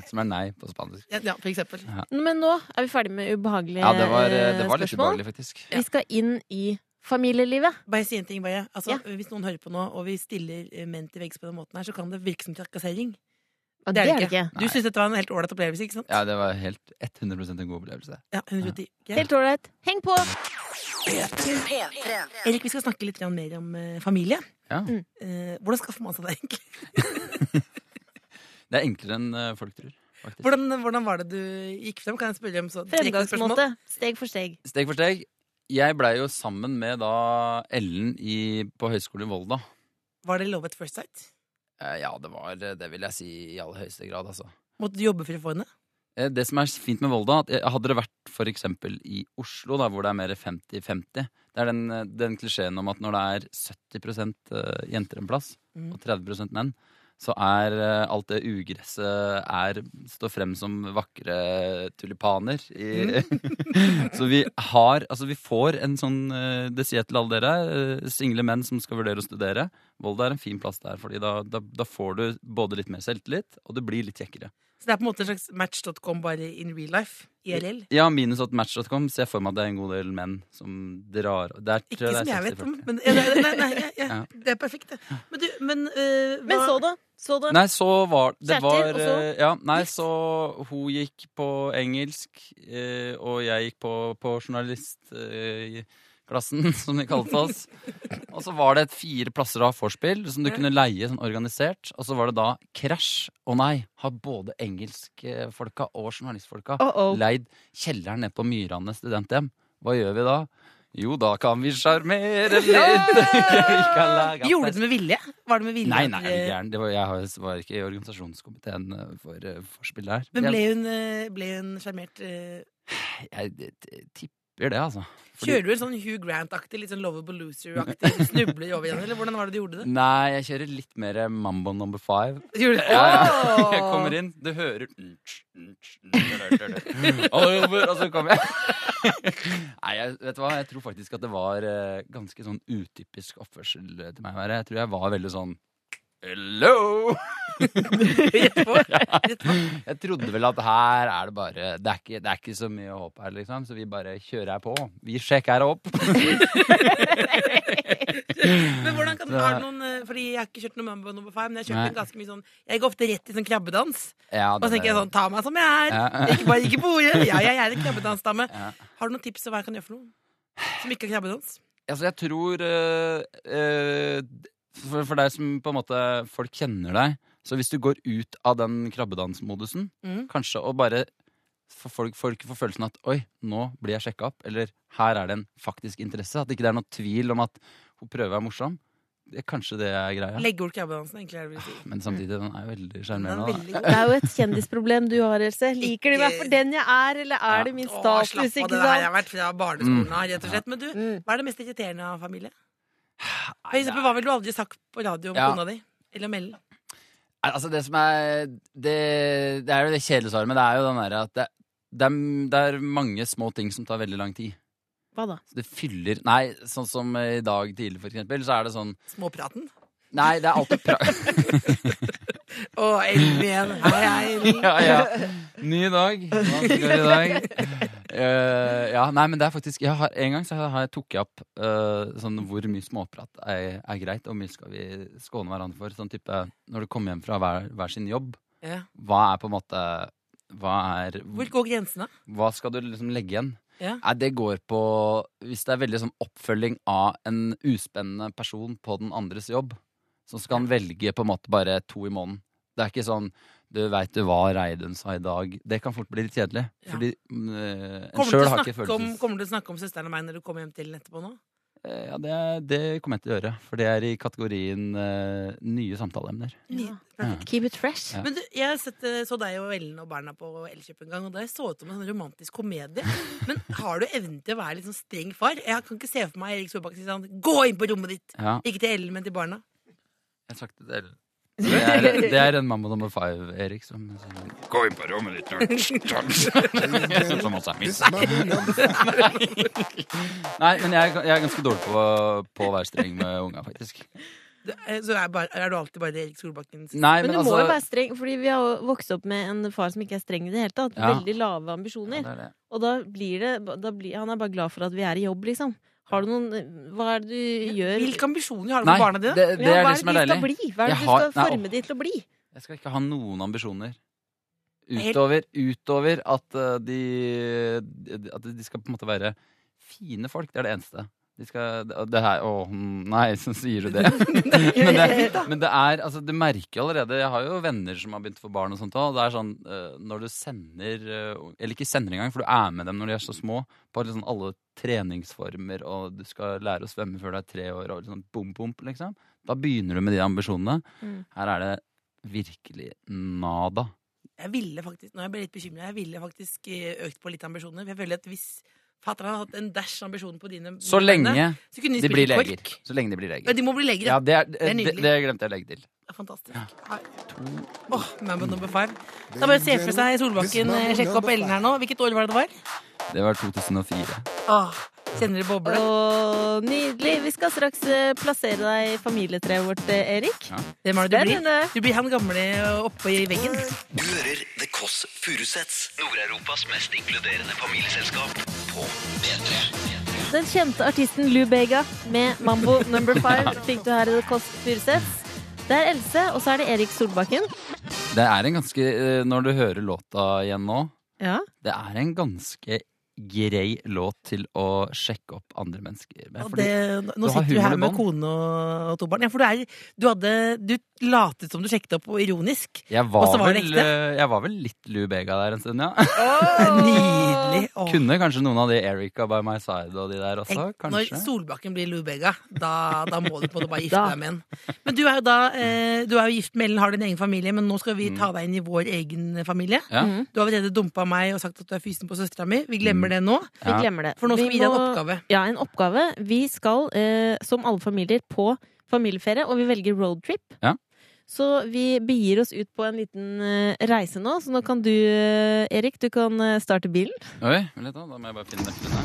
[SPEAKER 8] som er nei på spansk.
[SPEAKER 4] ja, for eksempel.
[SPEAKER 3] Men nå er vi ferdig med ubehagelige
[SPEAKER 8] Ja, det var,
[SPEAKER 3] eh,
[SPEAKER 8] det var litt
[SPEAKER 3] spørsmål.
[SPEAKER 8] ubehagelig, faktisk.
[SPEAKER 3] Vi skal inn i familielivet.
[SPEAKER 4] Bare si en ting, bare. Altså,
[SPEAKER 3] Ja.
[SPEAKER 4] Hvis noen hører på nå, og vi stiller eh, menn til veggs på den måten her, så kan det virke som trakassering.
[SPEAKER 3] Og det er det ikke.
[SPEAKER 4] Du syns dette var en helt ålreit opplevelse, ikke sant?
[SPEAKER 8] Ja, det var helt 100 en god opplevelse.
[SPEAKER 4] Ja, 110. Greit.
[SPEAKER 3] Helt ålreit. Heng på!
[SPEAKER 4] Erik, vi skal snakke litt grann mer om eh, familie.
[SPEAKER 8] Ja.
[SPEAKER 3] Mm.
[SPEAKER 4] Eh, hvordan skaffer man seg det, egentlig?
[SPEAKER 8] Det er enklere enn eh, folk tror. faktisk.
[SPEAKER 4] Hvordan, hvordan var det du gikk frem? Kan jeg spørre om så direkte spørsmål?
[SPEAKER 3] Fremgangsmåte. Steg for steg.
[SPEAKER 8] Steg for steg. Jeg blei jo sammen med da Ellen i, på Høgskolen i Volda.
[SPEAKER 4] Var det love at first sight?
[SPEAKER 8] Eh, Ja, det var eh, Det vil jeg si i aller høyeste grad, altså.
[SPEAKER 4] Måtte du jobbe for å få henne?
[SPEAKER 8] Eh, Det som er fint med Volda, at eh, hadde det vært for eksempel i Oslo, da, hvor det er mer 50-50 Det er den, eh, den klisjeen om at når det er 70 eh, jenter en plass,
[SPEAKER 4] Mm.
[SPEAKER 8] og 30 menn, så er eh, alt det ugresset er står frem som vakre tulipaner. I, så vi har Altså, vi får en sånn eh, Det sier jeg til alle dere, eh, single menn som skal vurdere å studere. Volda er en fin plass der, fordi da, da, da får du både litt mer selvtillit, og du blir litt kjekkere.
[SPEAKER 4] Så det er på en måte en slags match.com bare in real life? IRL?
[SPEAKER 8] Ja, minus at match.com ser jeg for meg at det er en god del menn som drar der, tror
[SPEAKER 4] Ikke
[SPEAKER 8] jeg
[SPEAKER 4] som
[SPEAKER 8] det er
[SPEAKER 4] jeg vet
[SPEAKER 8] 60-40.
[SPEAKER 4] om. Men, ja, nei, nei, nei, ja, ja,
[SPEAKER 8] Ja.
[SPEAKER 4] Det er perfekt, det. Men du, men, eh, hva,
[SPEAKER 3] Men så da. Så da.
[SPEAKER 8] Nei, så var det
[SPEAKER 3] Kjærester,
[SPEAKER 8] var,
[SPEAKER 3] og så?
[SPEAKER 8] eh, Ja, nei, så hun gikk på engelsk, eh, og jeg gikk på, på journalistklassen, eh, som de kalte oss. og så var det et fire plasser av vorspiel som du kunne leie sånn organisert. Og så var det da krasj. Å nei, har både engelskfolka og journalistfolka
[SPEAKER 3] Oh, oh.
[SPEAKER 8] leid kjelleren nede på Myrane studenthjem. Hva gjør vi da? Jo, da kan vi sjarmere litt. Vi kan lage
[SPEAKER 4] Gjorde du det med vilje? Var det med vilje? eh,
[SPEAKER 8] Nei, nei, er du gæren. Det var, jeg har- var ikke i organisasjonskomiteen eh, for eh, forspillet her.
[SPEAKER 4] Men
[SPEAKER 8] Jeg,
[SPEAKER 4] ble hun, eh, ble hun sjarmert? eh,
[SPEAKER 8] jeg, jeg tipper det, altså. Fordi-
[SPEAKER 4] Kjører du en sånn Hugh Grant-aktig, litt sånn Lovable Loser-aktig? Snubler over igjen, eller hvordan var det du gjorde det?
[SPEAKER 8] Nei, jeg kjører litt mer eh, Mambo number five.
[SPEAKER 4] Gjorde du det?
[SPEAKER 8] Ja, ja. Jeg kommer inn, du hører Og så kommer jeg. Nei, jeg, vet du hva? jeg tror faktisk at det var eh, ganske sånn utypisk oppførsel eh, til meg å være. Jeg tror jeg var veldig sånn Hello! Jeg trodde vel at her er det bare Det er ikke, det er ikke så mye håp her, liksom. Så vi bare kjører her på. Vi sjekker her opp.
[SPEAKER 4] Men hvordan kan
[SPEAKER 8] Så-
[SPEAKER 4] har du noen, eh, Fordi jeg har ikke kjørt noe Mambo number five, men jeg har kjørt
[SPEAKER 8] Nei.
[SPEAKER 4] en ganske mye sånn Jeg går ofte rett i sånn krabbedans.
[SPEAKER 8] Ja,
[SPEAKER 4] Og så
[SPEAKER 8] den
[SPEAKER 4] tenker jeg
[SPEAKER 8] er-
[SPEAKER 4] sånn, ta meg som jeg er.
[SPEAKER 8] Ja.
[SPEAKER 4] Ikke bare ikke på ordet. Ja, jeg er en krabbedansdame.
[SPEAKER 8] Ja.
[SPEAKER 4] Har du noen tips til hva jeg kan gjøre for noe? Som ikke er krabbedans?
[SPEAKER 8] Altså, jeg tror eh, eh, for, for deg som på en måte Folk kjenner deg. Så hvis du går ut av den krabbedansmodusen,
[SPEAKER 4] Mm.
[SPEAKER 8] kanskje og bare for folk, folk får følelsen at 'oi, nå blir jeg sjekka opp', eller 'her er det en faktisk interesse', at ikke det er noe tvil om at hun prøver å være morsom, det, kanskje det er greia.
[SPEAKER 4] Legge bort krabbedansen, egentlig. Er det vel å si.
[SPEAKER 8] Men samtidig, den er jo veldig
[SPEAKER 4] Den er
[SPEAKER 8] sjarmerende. da.
[SPEAKER 4] veldig god.
[SPEAKER 3] Det er jo et kjendisproblem du har, Else. Liker du meg
[SPEAKER 4] Ikke-
[SPEAKER 3] for den jeg er, eller er det min
[SPEAKER 4] Å,
[SPEAKER 3] status,
[SPEAKER 4] slapp av,
[SPEAKER 3] ikke
[SPEAKER 4] det der har jeg
[SPEAKER 3] sant?
[SPEAKER 4] vært fra barneskolen av, rett og slett. Men du,
[SPEAKER 3] Mm.
[SPEAKER 4] hva er det mest irriterende av familie? For
[SPEAKER 8] Nei, det er-
[SPEAKER 4] eksempel, hva ville du aldri sagt på radio om
[SPEAKER 8] Ja.
[SPEAKER 4] kona di? Eller om Ellen?
[SPEAKER 8] Nei, Altså det som er Det, det er jo det kjedelige svaret, men det er jo den derre at det, det, er, det er mange små ting som tar veldig lang tid.
[SPEAKER 3] Hva da?
[SPEAKER 8] Så det fyller Nei, sånn som eh, i dag tidlig, for eksempel, så er det sånn
[SPEAKER 4] Småpraten?
[SPEAKER 8] Nei, det er alltid pra...
[SPEAKER 4] Å, Ellen igjen. Hei, hei, Ellen.
[SPEAKER 8] ja, ja. Ny dag. Hva skal vi i dag? Eh, ja, nei, men det er faktisk jeg har, En gang så har jeg tok jeg opp eh, sånn hvor mye småprat er, er greit, og hvor mye skal vi skåne hverandre for. Sånn type når du kommer hjem fra hver, hver sin jobb,
[SPEAKER 4] Ja.
[SPEAKER 8] hva er på en måte Hva er
[SPEAKER 4] Hvor går grensene?
[SPEAKER 8] Hva skal du liksom legge igjen?
[SPEAKER 4] Ja.
[SPEAKER 8] Nei, det går på Hvis det er veldig sånn oppfølging av en uspennende person på den andres jobb, så skal han velge på en måte bare to i måneden. Det er ikke sånn du veit du hva Reidun sa i dag. Det kan fort bli litt kjedelig.
[SPEAKER 4] Ja.
[SPEAKER 8] Fordi mm, eh, en
[SPEAKER 4] Kommer du, til
[SPEAKER 8] sjøl
[SPEAKER 4] å
[SPEAKER 8] har ikke
[SPEAKER 4] snakke om,
[SPEAKER 8] følelsen
[SPEAKER 4] kommer du til å snakke om søsteren og meg når du kommer hjem til den etterpå nå?
[SPEAKER 8] Eh, Ja, det, det kommer jeg til å gjøre. For det er i kategorien eh, nye samtaleemner.
[SPEAKER 3] Ja.
[SPEAKER 8] Ja.
[SPEAKER 3] Keep it fresh.
[SPEAKER 8] Ja.
[SPEAKER 4] Men du, jeg har sett, eh, så deg og Ellen og barna på Elkjøp en gang, og det så ut som en sånn romantisk komedie. Men har du evnen til å være litt sånn streng far? Jeg kan ikke se for meg Erik Solbakken si sånn Gå inn på rommet ditt!
[SPEAKER 8] Ja,
[SPEAKER 4] Ikke til Ellen, men til barna.
[SPEAKER 8] jeg har sagt det til Ellen. Det er, det er en mamma nummer five, Erik, som som-
[SPEAKER 2] Gå inn på rommet ditt
[SPEAKER 8] som også er min. Nei, men jeg, er- jeg er ganske dårlig på, på å være streng med unga, faktisk.
[SPEAKER 4] Du, eh, Så er, bare, er du alltid bare Erik Solbakkens
[SPEAKER 8] Nei,
[SPEAKER 3] Men
[SPEAKER 8] men,
[SPEAKER 3] du må
[SPEAKER 8] altså
[SPEAKER 3] jo være streng, fordi vi har jo vokst opp med en far som ikke er streng i det hele tatt.
[SPEAKER 8] Ja.
[SPEAKER 3] Veldig lave
[SPEAKER 8] Ja,
[SPEAKER 3] ambisjoner.
[SPEAKER 8] det er det.
[SPEAKER 3] Og da blir det da blir, Han er bare glad for at vi er i jobb, liksom. Har du noen Hva er det du gjør
[SPEAKER 4] Hvilke ambisjoner har du
[SPEAKER 8] Nei,
[SPEAKER 4] for barna
[SPEAKER 8] det,
[SPEAKER 4] dine?
[SPEAKER 8] det
[SPEAKER 3] Ja,
[SPEAKER 8] er det som
[SPEAKER 3] Hva
[SPEAKER 8] er
[SPEAKER 3] er det de skal
[SPEAKER 8] deilig.
[SPEAKER 3] bli? Hva er det
[SPEAKER 8] Jeg
[SPEAKER 3] du
[SPEAKER 8] har-
[SPEAKER 3] skal
[SPEAKER 8] Nei,
[SPEAKER 3] forme de til å bli?
[SPEAKER 8] Jeg skal ikke ha noen ambisjoner.
[SPEAKER 4] Helt-
[SPEAKER 8] Utover, utover at eh, de At de skal på en måte være fine folk. Det er det eneste. De skal det- det her, Å, nei, så sier du det. men, det men det er Altså, du merker allerede Jeg har jo venner som har begynt å få barn og sånt òg. Det er sånn eh, når du sender eh, Eller ikke sender engang, for du er med dem når de er så små, på liksom alle treningsformer, og du skal lære å svømme før du er tre år, og sånn bom, bom, liksom. Da begynner du med de ambisjonene.
[SPEAKER 3] Mm.
[SPEAKER 8] Her er det virkelig nada.
[SPEAKER 4] Jeg ville faktisk, når jeg ble litt bekymret, jeg ville faktisk eh, økt på litt ambisjoner. For jeg føler at hvis fatter'n hadde hatt en dash ambisjon på dine
[SPEAKER 8] Så lenge
[SPEAKER 4] så kunne
[SPEAKER 8] de blir
[SPEAKER 4] spilt kork.
[SPEAKER 8] leger. Så lenge de blir
[SPEAKER 4] Ja,
[SPEAKER 8] leger.
[SPEAKER 4] de må bli leger, ja.
[SPEAKER 8] Ja, det, er,
[SPEAKER 4] er
[SPEAKER 8] det,
[SPEAKER 4] nydelig.
[SPEAKER 8] det glemte jeg å legge til.
[SPEAKER 4] Fantastisk. Ja. Åh, Mambo number five. Da bare se for seg Solbakken eh, sjekke opp Ellen her nå. Hvilket år var det det var?
[SPEAKER 8] Det var 2004.
[SPEAKER 4] Åh, kjenner dere boble?
[SPEAKER 3] Å, nydelig. Vi skal straks eh, plassere deg i familietreet vårt, eh, Erik.
[SPEAKER 8] Ja.
[SPEAKER 4] Hvem er det du blir?
[SPEAKER 3] Spennende.
[SPEAKER 4] Du blir han gamle oppå i veggen.
[SPEAKER 2] Du hører The Kåss Furuseths, Nord-Europas mest inkluderende familieselskap, på P3.
[SPEAKER 3] Den kjente artisten Lou Bega med Mambo Number Five fikk du her i The Kåss Furuseths. Det er Else, og så er det Erik Solbakken.
[SPEAKER 8] Det er en ganske eh, Når du hører låta igjen nå,
[SPEAKER 3] Ja.
[SPEAKER 8] det er en ganske grei låt til å sjekke opp andre mennesker med.
[SPEAKER 4] Og
[SPEAKER 8] Fordi,
[SPEAKER 4] det, nå
[SPEAKER 8] du har
[SPEAKER 4] sitter du her
[SPEAKER 8] humor i
[SPEAKER 4] med
[SPEAKER 8] bånn.
[SPEAKER 4] kone og, og to barn. Ja, for du, er, du, hadde, du latet som du sjekket opp og ironisk.
[SPEAKER 8] jeg,
[SPEAKER 4] Og
[SPEAKER 8] var
[SPEAKER 4] så var det
[SPEAKER 8] vel,
[SPEAKER 4] ekte.
[SPEAKER 8] eh, jeg var vel litt Lou Bega der en stund, ja.
[SPEAKER 4] Nydelig. Åh.
[SPEAKER 8] Kunne kanskje noen av de Erika by my side og de der også?
[SPEAKER 4] Tenk, når
[SPEAKER 8] Kanskje?
[SPEAKER 4] Solbakken blir Lou Bega, da, da må du på en måte bare gifte
[SPEAKER 5] Da.
[SPEAKER 4] deg med en. Men du er jo da eh, Du er jo gift med Ellen, har din egen familie, men nå skal vi ta deg inn i vår egen familie.
[SPEAKER 8] Ja.
[SPEAKER 4] Du har allerede dumpa meg og sagt at du er fysen på søstera mi. Vi glemmer
[SPEAKER 8] Mm.
[SPEAKER 4] det nå,
[SPEAKER 3] Vi glemmer det.
[SPEAKER 4] for nå skal vi gi deg en
[SPEAKER 3] må-
[SPEAKER 4] oppgave.
[SPEAKER 3] Ja, en oppgave. Vi skal, eh, som alle familier, på familieferie, og vi velger roadtrip.
[SPEAKER 8] Ja.
[SPEAKER 3] Så vi begir oss ut på en liten eh, reise nå, så nå kan du, eh, Erik, du kan eh, starte bilen.
[SPEAKER 8] Oi, vent litt da, da må jeg bare finne nøkkelen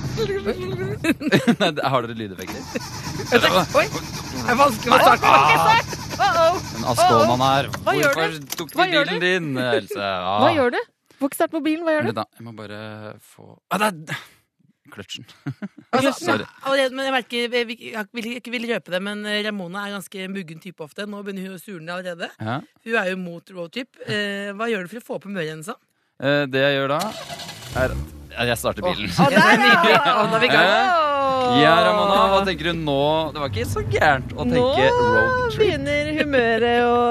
[SPEAKER 8] her. Nei, det- Har dere lydeffekter?
[SPEAKER 4] Det er vanskelig å starte.
[SPEAKER 8] Den Askånan her.
[SPEAKER 3] Hva gjør
[SPEAKER 8] Hvorfor tok
[SPEAKER 3] Hva
[SPEAKER 8] de
[SPEAKER 3] gjør
[SPEAKER 8] bilen din, Else?
[SPEAKER 3] Hva gjør du? Får ikke start på bilen, hva gjør
[SPEAKER 8] Vent
[SPEAKER 3] du?
[SPEAKER 8] litt da, jeg må bare få ah, det er... Kløtsjen.
[SPEAKER 4] Altså,
[SPEAKER 8] Sorry.
[SPEAKER 4] allerede, men jeg merker, jeg vil jeg vil ikke vil røpe det, men eh, Ramona er ganske muggen type ofte. Nå begynner hun å surne allerede.
[SPEAKER 8] Ja.
[SPEAKER 4] Hun er jo mot roadtrip. Eh, hva gjør du for å få opp humøret hennes? da?
[SPEAKER 8] Eh, Det jeg gjør da, er at jeg starter bilen. Eh, Ja, Ramona, hva tenker du nå? Det var ikke så gærent å tenke road
[SPEAKER 3] Nå
[SPEAKER 8] trip.
[SPEAKER 3] begynner humøret å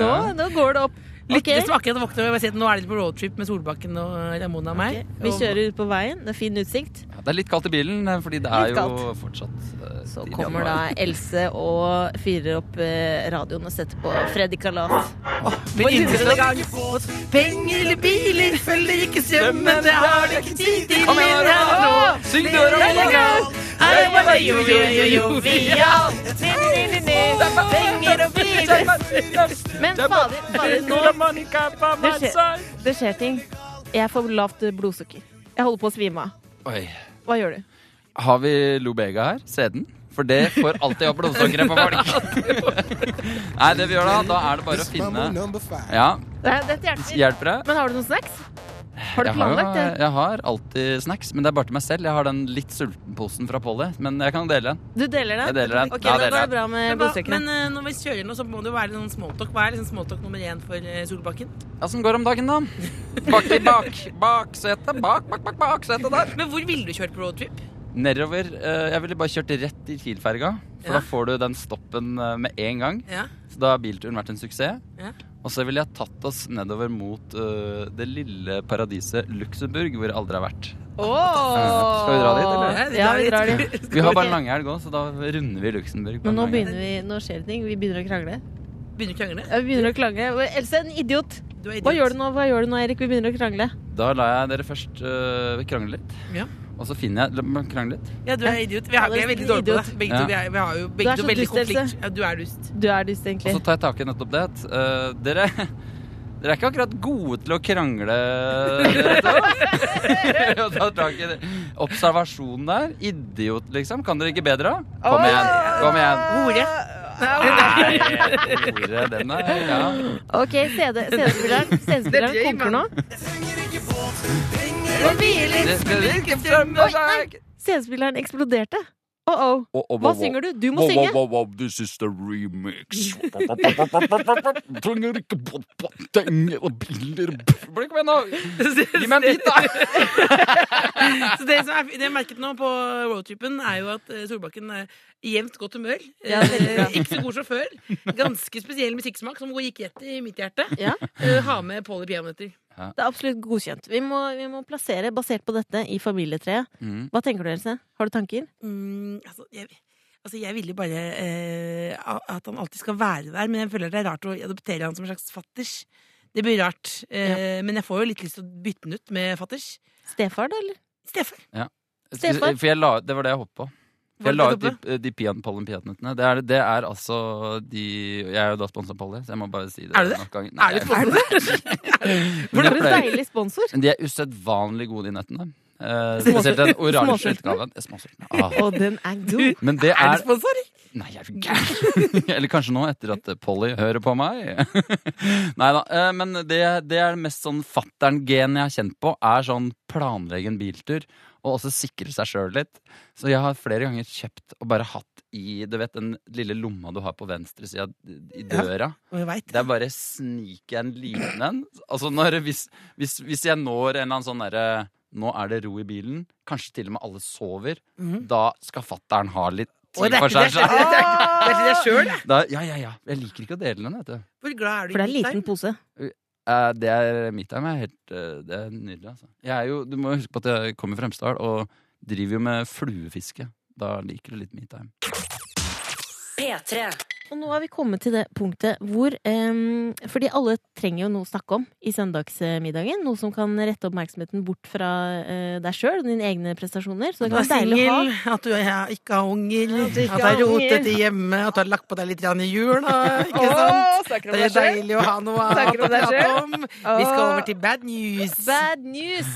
[SPEAKER 3] nå,
[SPEAKER 8] Ja.
[SPEAKER 3] nå går det opp.
[SPEAKER 4] Lykke
[SPEAKER 3] Ok.
[SPEAKER 4] til som akkurat våkner. og jeg bare sier at Nå er de på roadtrip med Solbakken og Ramona og meg.
[SPEAKER 3] Vi kjører ut på veien, det er fin utsikt.
[SPEAKER 8] Ja, det er litt kaldt i bilen, eh, fordi det er
[SPEAKER 3] Litt
[SPEAKER 8] jo fortsatt eh,
[SPEAKER 3] Så
[SPEAKER 8] tidlig
[SPEAKER 3] kommer da
[SPEAKER 8] januar.
[SPEAKER 3] Else og fyrer opp eh, radioen og setter på Freddy Kalas.
[SPEAKER 4] Og min innsatte gang båt, penger eller biler følger ikke strømmen. Det har du ikke tid til.
[SPEAKER 8] Kom igjen,
[SPEAKER 4] mer
[SPEAKER 8] Ramona!
[SPEAKER 4] nå.
[SPEAKER 8] Syng du, Ramona!
[SPEAKER 4] Hei, hva, hva, jo, jo, jo, jo, vi har Penger og biler
[SPEAKER 3] Men fader, fader nå det skjer, det skjer ting. Jeg får lavt blodsukker. Jeg holder på å svime av.
[SPEAKER 8] Oi.
[SPEAKER 3] Hva gjør du?
[SPEAKER 8] Har vi Lobega her? Seden? For det får alltid opp blodsukkeret på folk. Nei, det vi gjør da, da er det bare å finne Ja,
[SPEAKER 3] Nei, dette hjelper.
[SPEAKER 8] hjelper det?
[SPEAKER 3] Men har du noen snacks? Har du
[SPEAKER 8] Jeg har,
[SPEAKER 3] planlagt det?
[SPEAKER 8] jeg har alltid snacks, men det er bare til meg selv. Jeg har den litt sulten-posen fra Polly, men jeg kan dele den.
[SPEAKER 3] Du deler det?
[SPEAKER 8] Jeg deler den.
[SPEAKER 3] Ok,
[SPEAKER 8] Ja,
[SPEAKER 3] da går
[SPEAKER 8] deler
[SPEAKER 3] det
[SPEAKER 8] den.
[SPEAKER 3] bra med
[SPEAKER 4] Men hva-
[SPEAKER 3] blodsukkeret.
[SPEAKER 4] Men eh, når vi kjører nå, så må det jo være litt sånn smalltalk. Hva er liksom smalltalk nummer én for eh, Solbakken?
[SPEAKER 8] Åssen går det om dagen, da? Bak i bak. Baksetet. Bak, bak, bak, baksetet der.
[SPEAKER 4] Men hvor ville du kjørt på roadtrip?
[SPEAKER 8] Nedover. eh, Jeg ville bare kjørt rett til Kielferga, for
[SPEAKER 4] Ja.
[SPEAKER 8] da får du den stoppen eh, med en gang.
[SPEAKER 4] Ja.
[SPEAKER 8] Så da har bilturen vært en suksess.
[SPEAKER 4] Ja.
[SPEAKER 8] Og så ville jeg tatt oss nedover mot eh, det lille paradiset Luxembourg, hvor jeg aldri har vært. Eh, Skal vi dra dit, eller?
[SPEAKER 3] Ja, vi drar dit.
[SPEAKER 8] Vi har bare en langhelg òg, så da runder vi Luxembourg. på
[SPEAKER 3] Men
[SPEAKER 8] en
[SPEAKER 3] nå
[SPEAKER 8] langhelg.
[SPEAKER 3] begynner vi, nå skjer det ting. Vi begynner å krangle.
[SPEAKER 4] Begynner du å krangle?
[SPEAKER 3] Ja, vi begynner å krangle. Else er en idiot.
[SPEAKER 4] Du er idiot.
[SPEAKER 3] Hva gjør du nå, Hva gjør du nå Erik? Vi begynner å krangle.
[SPEAKER 8] Da lar jeg dere først øh, krangle litt.
[SPEAKER 4] Ja.
[SPEAKER 8] Og så finner jeg la meg Krangle litt.
[SPEAKER 4] Ja, du er idiot. Vi, har, vi er veldig
[SPEAKER 3] Ja, du er
[SPEAKER 4] dårlige på det.
[SPEAKER 3] idiot.
[SPEAKER 4] Begge
[SPEAKER 8] Ja.
[SPEAKER 4] to, vi, er, vi har
[SPEAKER 3] Du
[SPEAKER 4] jo begge
[SPEAKER 3] er
[SPEAKER 4] to
[SPEAKER 3] så
[SPEAKER 4] veldig
[SPEAKER 3] dust, Else.
[SPEAKER 4] konflikt. Ja, du er dust.
[SPEAKER 3] Du er dust,
[SPEAKER 8] Og
[SPEAKER 9] Altså-
[SPEAKER 3] egentlig.
[SPEAKER 8] så tar jeg tak i nettopp det. at, øh, dere, dere er ikke akkurat gode til å krangle. dere to. Og ta tak i det. Observasjon der. Idiot, liksom. Kan dere ikke bedre? Kom igjen. Kom igjen.
[SPEAKER 4] Hore.
[SPEAKER 8] Nei, ordet, den er ja.
[SPEAKER 3] Ok, CD CD-spilleren CD-spilleren koker nå.
[SPEAKER 8] Det skal ikke fremme seg.
[SPEAKER 3] CD-spilleren eksploderte. Oh-oh.
[SPEAKER 9] Wow, wow,
[SPEAKER 3] Oh, Hva
[SPEAKER 9] wow.
[SPEAKER 3] synger du? Du
[SPEAKER 9] Wow,
[SPEAKER 3] må
[SPEAKER 9] wow,
[SPEAKER 3] synge.
[SPEAKER 9] wow, wow, this is the remix. Trenger ikke penger og biler
[SPEAKER 8] Bli kom igjen nå. Gi meg en bit, da.
[SPEAKER 4] Så det som er, det jeg merket nå på roadtripen, er jo at eh, Solbakken er i jevnt godt humør.
[SPEAKER 3] Ja, veldig bra.
[SPEAKER 4] Eh, Ikke så god sjåfør. Ganske spesiell musikksmak som gikk rett i mitt hjerte.
[SPEAKER 3] Ja.
[SPEAKER 4] Eh, Ha med Polly peanøtter.
[SPEAKER 3] Det er absolutt godkjent. Vi må, vi må plassere, basert på dette, i familietreet.
[SPEAKER 8] Mm.
[SPEAKER 3] Hva tenker du, Else? Har du tanker?
[SPEAKER 4] Mm, altså, jeg, altså, jeg ville jo bare eh, a- at han alltid skal være der, men jeg føler det er rart å adoptere han som en slags fatters. Det blir rart. Eh, Men jeg får jo litt lyst til å bytte den ut med fatters.
[SPEAKER 3] Stefar, da, eller?
[SPEAKER 4] Stefan.
[SPEAKER 3] Stefar?
[SPEAKER 8] For jeg la, det var det jeg hoppet på. For jeg la ut
[SPEAKER 4] Hva er
[SPEAKER 8] de,
[SPEAKER 4] det
[SPEAKER 8] de pean- pollen peanøttene. Det, er- det er altså de Jeg er jo da sponsa Polly, så jeg må bare si det.
[SPEAKER 4] Er du det?
[SPEAKER 8] nok ganger.
[SPEAKER 4] Er du sponsor?
[SPEAKER 8] Men
[SPEAKER 3] For
[SPEAKER 8] jeg
[SPEAKER 3] en
[SPEAKER 8] pleier-
[SPEAKER 3] deilig sponsor!
[SPEAKER 8] Men de er usedvanlig gode, de nøttene. Eh, spesielt den oransje
[SPEAKER 3] Småsultne?
[SPEAKER 8] utgaven. Eh, Småsultne. Ah.
[SPEAKER 3] Og den er god!
[SPEAKER 8] Men det
[SPEAKER 4] Er
[SPEAKER 8] er
[SPEAKER 4] du sponsor?
[SPEAKER 8] Nei, jeg er jo gæren! Eller kanskje nå, etter at eh, Polly hører på meg. Nei da. eh, Men det, det er det mest sånn fattern-gen jeg har kjent på, er sånn planlegge en biltur. Og også sikre seg sjøl litt. Så jeg har flere ganger kjøpt og bare hatt i du vet, den lille lomma du har på venstre sida i døra.
[SPEAKER 4] Og jeg vet.
[SPEAKER 8] Der bare sniker jeg en liten en. Altså når, hvis, hvis, hvis jeg når en eller annen sånn derre nå er det ro i bilen. Kanskje til og med alle sover.
[SPEAKER 4] Mhm.
[SPEAKER 8] Da skal fattern ha litt
[SPEAKER 4] Å,
[SPEAKER 8] tid
[SPEAKER 4] det er
[SPEAKER 8] for
[SPEAKER 4] ikke det
[SPEAKER 8] seg
[SPEAKER 4] jeg
[SPEAKER 8] selv.
[SPEAKER 4] skjønner. Det er ikke det jeg sjøl, jeg.
[SPEAKER 8] Da- Ja, ja, ja. Jeg liker ikke å dele den, vet du.
[SPEAKER 4] Hvor glad er du
[SPEAKER 3] For det er en
[SPEAKER 4] i midtveien?
[SPEAKER 3] liten pose.
[SPEAKER 8] Eh, Det er mitt hjem. er helt, eh, Det er nydelig, altså. Jeg er jo, du må jo huske på at jeg kommer fra Hemsedal og driver jo med fluefiske. Da liker du litt mitt hjem.
[SPEAKER 1] P3.
[SPEAKER 3] Og nå har vi kommet til det punktet hvor em, Fordi alle trenger jo noe å snakke om i søndagsmiddagen. Noe som kan rette oppmerksomheten bort fra eh, deg sjøl og dine egne prestasjoner. Så det
[SPEAKER 4] Du er
[SPEAKER 3] kan være deilig å ha
[SPEAKER 4] singel, at du er- ikke har unger, at du
[SPEAKER 5] ikke
[SPEAKER 4] er
[SPEAKER 5] har unger.
[SPEAKER 4] rotete hjemme, at du har lagt på deg litt grann i jula. Ikke sant?
[SPEAKER 5] Åh, snakker om
[SPEAKER 4] Det
[SPEAKER 5] deg
[SPEAKER 4] er
[SPEAKER 5] selv.
[SPEAKER 4] deilig å ha noe å
[SPEAKER 5] Snakker du om deg
[SPEAKER 4] prate
[SPEAKER 5] selv?
[SPEAKER 4] om. Vi skal over til bad news.
[SPEAKER 3] Bad news!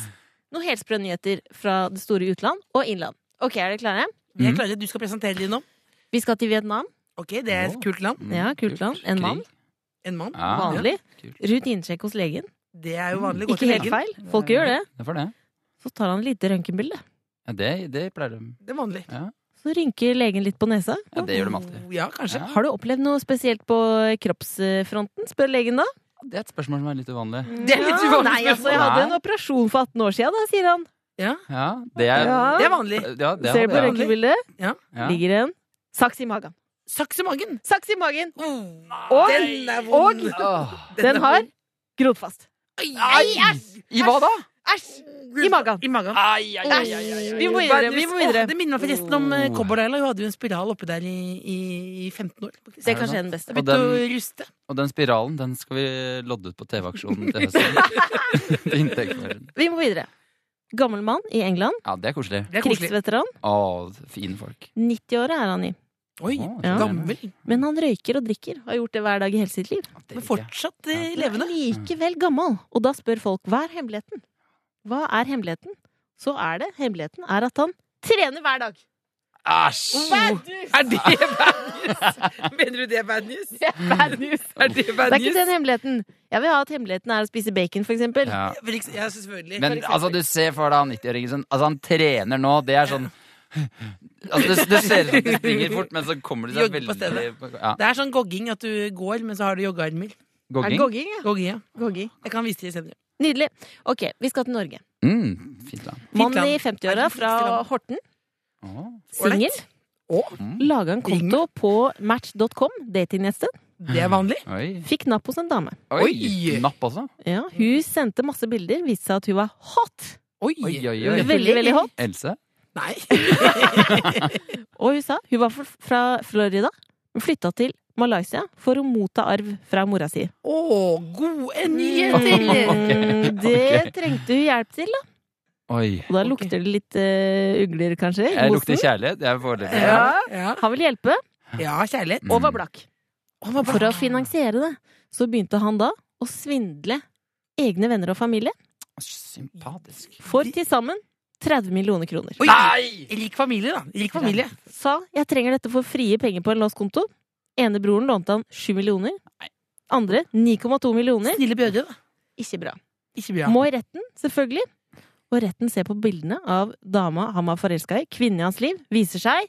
[SPEAKER 3] Noen helt sprø nyheter fra det store utland og innland. Ok, er dere klare?
[SPEAKER 8] Mm.
[SPEAKER 4] Jeg klarer at du skal presentere deg nå.
[SPEAKER 3] Vi skal til Vietnam.
[SPEAKER 4] Ok, det er et kult land.
[SPEAKER 8] Mm,
[SPEAKER 3] Ja, kult land. En mann.
[SPEAKER 8] Krig.
[SPEAKER 4] En mann.
[SPEAKER 8] Ja,
[SPEAKER 3] Vanlig.
[SPEAKER 8] kult.
[SPEAKER 3] Rutinesjekk hos legen.
[SPEAKER 4] Det er jo vanlig. Gå
[SPEAKER 3] Ikke
[SPEAKER 4] til
[SPEAKER 3] helt
[SPEAKER 4] legen.
[SPEAKER 3] feil. Folk gjør det.
[SPEAKER 8] Det er for det.
[SPEAKER 3] Så tar han et lite røntgenbilde.
[SPEAKER 8] Ja, det, det pleier de.
[SPEAKER 4] Det er vanlig. Oh,
[SPEAKER 3] Så rynker legen litt på nesa.
[SPEAKER 8] Ja, det gjør de alltid.
[SPEAKER 4] Ja, kanskje.
[SPEAKER 8] Ja,
[SPEAKER 3] Har du opplevd noe spesielt på kroppsfronten? spør legen da.
[SPEAKER 8] det er et spørsmål som er litt uvanlig.
[SPEAKER 4] Det er litt uvanlig
[SPEAKER 3] Nei, altså, jeg
[SPEAKER 8] spørsmål.
[SPEAKER 3] hadde en operasjon for 18 år siden, da, sier han.
[SPEAKER 8] Ja, det er
[SPEAKER 3] Ja.
[SPEAKER 4] Det er vanlig.
[SPEAKER 8] Ja, det
[SPEAKER 3] Ser
[SPEAKER 8] hadde
[SPEAKER 3] på
[SPEAKER 8] jeg.
[SPEAKER 3] røntgenbildet,
[SPEAKER 8] Ja.
[SPEAKER 3] ligger en saks i magen.
[SPEAKER 4] Saks i magen.
[SPEAKER 3] Saks i magen!
[SPEAKER 4] Oh,
[SPEAKER 3] Og,
[SPEAKER 4] den er
[SPEAKER 3] og
[SPEAKER 4] vond.
[SPEAKER 8] Åh.
[SPEAKER 3] den har grodd fast.
[SPEAKER 8] I hva da?
[SPEAKER 4] Æsj!
[SPEAKER 3] I magen.
[SPEAKER 4] I magen.
[SPEAKER 3] Vi må videre. vi må videre.
[SPEAKER 4] Åh, Det minner meg forresten om
[SPEAKER 8] Oh.
[SPEAKER 4] eh, Cowboy-Laila. Hun hadde jo en spiral oppi der i, i, i 15 år. faktisk.
[SPEAKER 3] Det er kanskje den beste.
[SPEAKER 8] Og
[SPEAKER 4] Begynte å
[SPEAKER 8] den-
[SPEAKER 4] ruste.
[SPEAKER 8] Og den spiralen den skal vi lodde ut på TV-aksjonen til høsten. til inntekten vår.
[SPEAKER 3] Vi må videre. Gammel mann i England.
[SPEAKER 8] Ja, det er koselig.
[SPEAKER 4] Det er koselig.
[SPEAKER 3] Krigsveteran.
[SPEAKER 8] Å, fine folk.
[SPEAKER 3] 90-åra er han i.
[SPEAKER 4] Oi,
[SPEAKER 8] Å,
[SPEAKER 3] ja.
[SPEAKER 4] gammel.
[SPEAKER 3] Men han røyker og drikker. Har gjort det hver dag i hele sitt liv.
[SPEAKER 8] Ja, det
[SPEAKER 4] Men
[SPEAKER 8] liker jeg.
[SPEAKER 4] fortsatt
[SPEAKER 3] Men
[SPEAKER 4] eh, levende.
[SPEAKER 3] er Likevel gammel. Og da spør folk hva er hemmeligheten? Hva er hemmeligheten? Så er det. Hemmeligheten er at han trener hver dag.
[SPEAKER 8] Æsj!
[SPEAKER 4] Oh, er det bad news? Mener du det er bad news?
[SPEAKER 3] Det er bad news.
[SPEAKER 4] Er det
[SPEAKER 3] Det
[SPEAKER 4] bad
[SPEAKER 3] er ikke
[SPEAKER 4] news?
[SPEAKER 3] den hemmeligheten. Jeg vil ha at hemmeligheten er å spise bacon, for eksempel.
[SPEAKER 8] Ja.
[SPEAKER 4] For ekse- Ja, selvfølgelig.
[SPEAKER 8] Men altså, du ser for deg han 90-åringen som altså, han trener nå. Det er sånn altså, det, det ser ut som de springer fort, men så kommer de seg
[SPEAKER 4] Jogger på
[SPEAKER 8] veldig ja.
[SPEAKER 4] Det er sånn gogging at du går, men så har du joggearmer.
[SPEAKER 3] Er det
[SPEAKER 8] Gogging?
[SPEAKER 3] gogging, ja?
[SPEAKER 4] Gogging, ja.
[SPEAKER 3] Gogging.
[SPEAKER 4] Jeg kan vise det senere.
[SPEAKER 3] Nydelig. Ok, vi skal til Norge.
[SPEAKER 8] Mm, fint da.
[SPEAKER 3] Mann
[SPEAKER 4] land.
[SPEAKER 3] i 50-åra fra Horten.
[SPEAKER 8] Å,
[SPEAKER 3] Singel.
[SPEAKER 4] Åh.
[SPEAKER 3] Laga en konto på match.com, datingnestet.
[SPEAKER 4] Det er vanlig.
[SPEAKER 8] Oi.
[SPEAKER 3] Fikk napp hos en dame.
[SPEAKER 8] Oi.
[SPEAKER 4] Oi.
[SPEAKER 8] Napp også.
[SPEAKER 3] Ja, hun sendte masse bilder, viste seg at hun var hot.
[SPEAKER 4] Oi.
[SPEAKER 8] Oi, oi, oi.
[SPEAKER 3] Veldig, veldig hot.
[SPEAKER 8] Else?
[SPEAKER 4] Nei.
[SPEAKER 3] Og hun sa hun var fra- fra Florida, men flytta til Malaysia for å motta arv fra mora si.
[SPEAKER 4] Å, gode nyheter!
[SPEAKER 3] Mm, Det trengte hun hjelp til, da.
[SPEAKER 8] Oi.
[SPEAKER 3] Og da lukter det litt eh, ugler, kanskje. i
[SPEAKER 8] Jeg
[SPEAKER 3] mosen.
[SPEAKER 8] lukter kjærlighet. Jeg er foreløpig.
[SPEAKER 4] Ja, ja.
[SPEAKER 3] Han vil hjelpe,
[SPEAKER 4] ja kjærlighet.
[SPEAKER 8] Mm.
[SPEAKER 3] og var blakk.
[SPEAKER 4] Å, hva bra.
[SPEAKER 3] For å finansiere det, så begynte han da å svindle egne venner og familie
[SPEAKER 8] Sympatisk.
[SPEAKER 3] for til sammen 30 millioner kroner.
[SPEAKER 4] Oi,
[SPEAKER 8] Nei!
[SPEAKER 4] Rik familie, da. Rik familie.
[SPEAKER 3] Sa 'jeg trenger dette for frie penger på en låst konto'. Ene broren lånte han 7 millioner. Andre 9,2 millioner.
[SPEAKER 4] Snille brødre, da.
[SPEAKER 3] Ikke bra.
[SPEAKER 4] Ikke bra.
[SPEAKER 3] Må i retten, selvfølgelig. Og retten ser på bildene av dama han var forelska i, kvinnen i hans liv, viser seg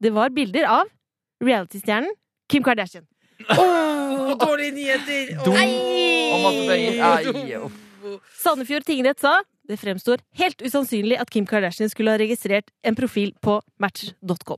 [SPEAKER 3] Det var bilder av reality-stjernen Kim Kardashian.
[SPEAKER 4] Å, dårlige nyheter! Å,
[SPEAKER 8] Dum. Og masse penger. Ai,
[SPEAKER 4] dum.
[SPEAKER 3] Sandefjord tingrett sa det fremstår helt usannsynlig at Kim Kardashian skulle ha registrert en profil på match.com.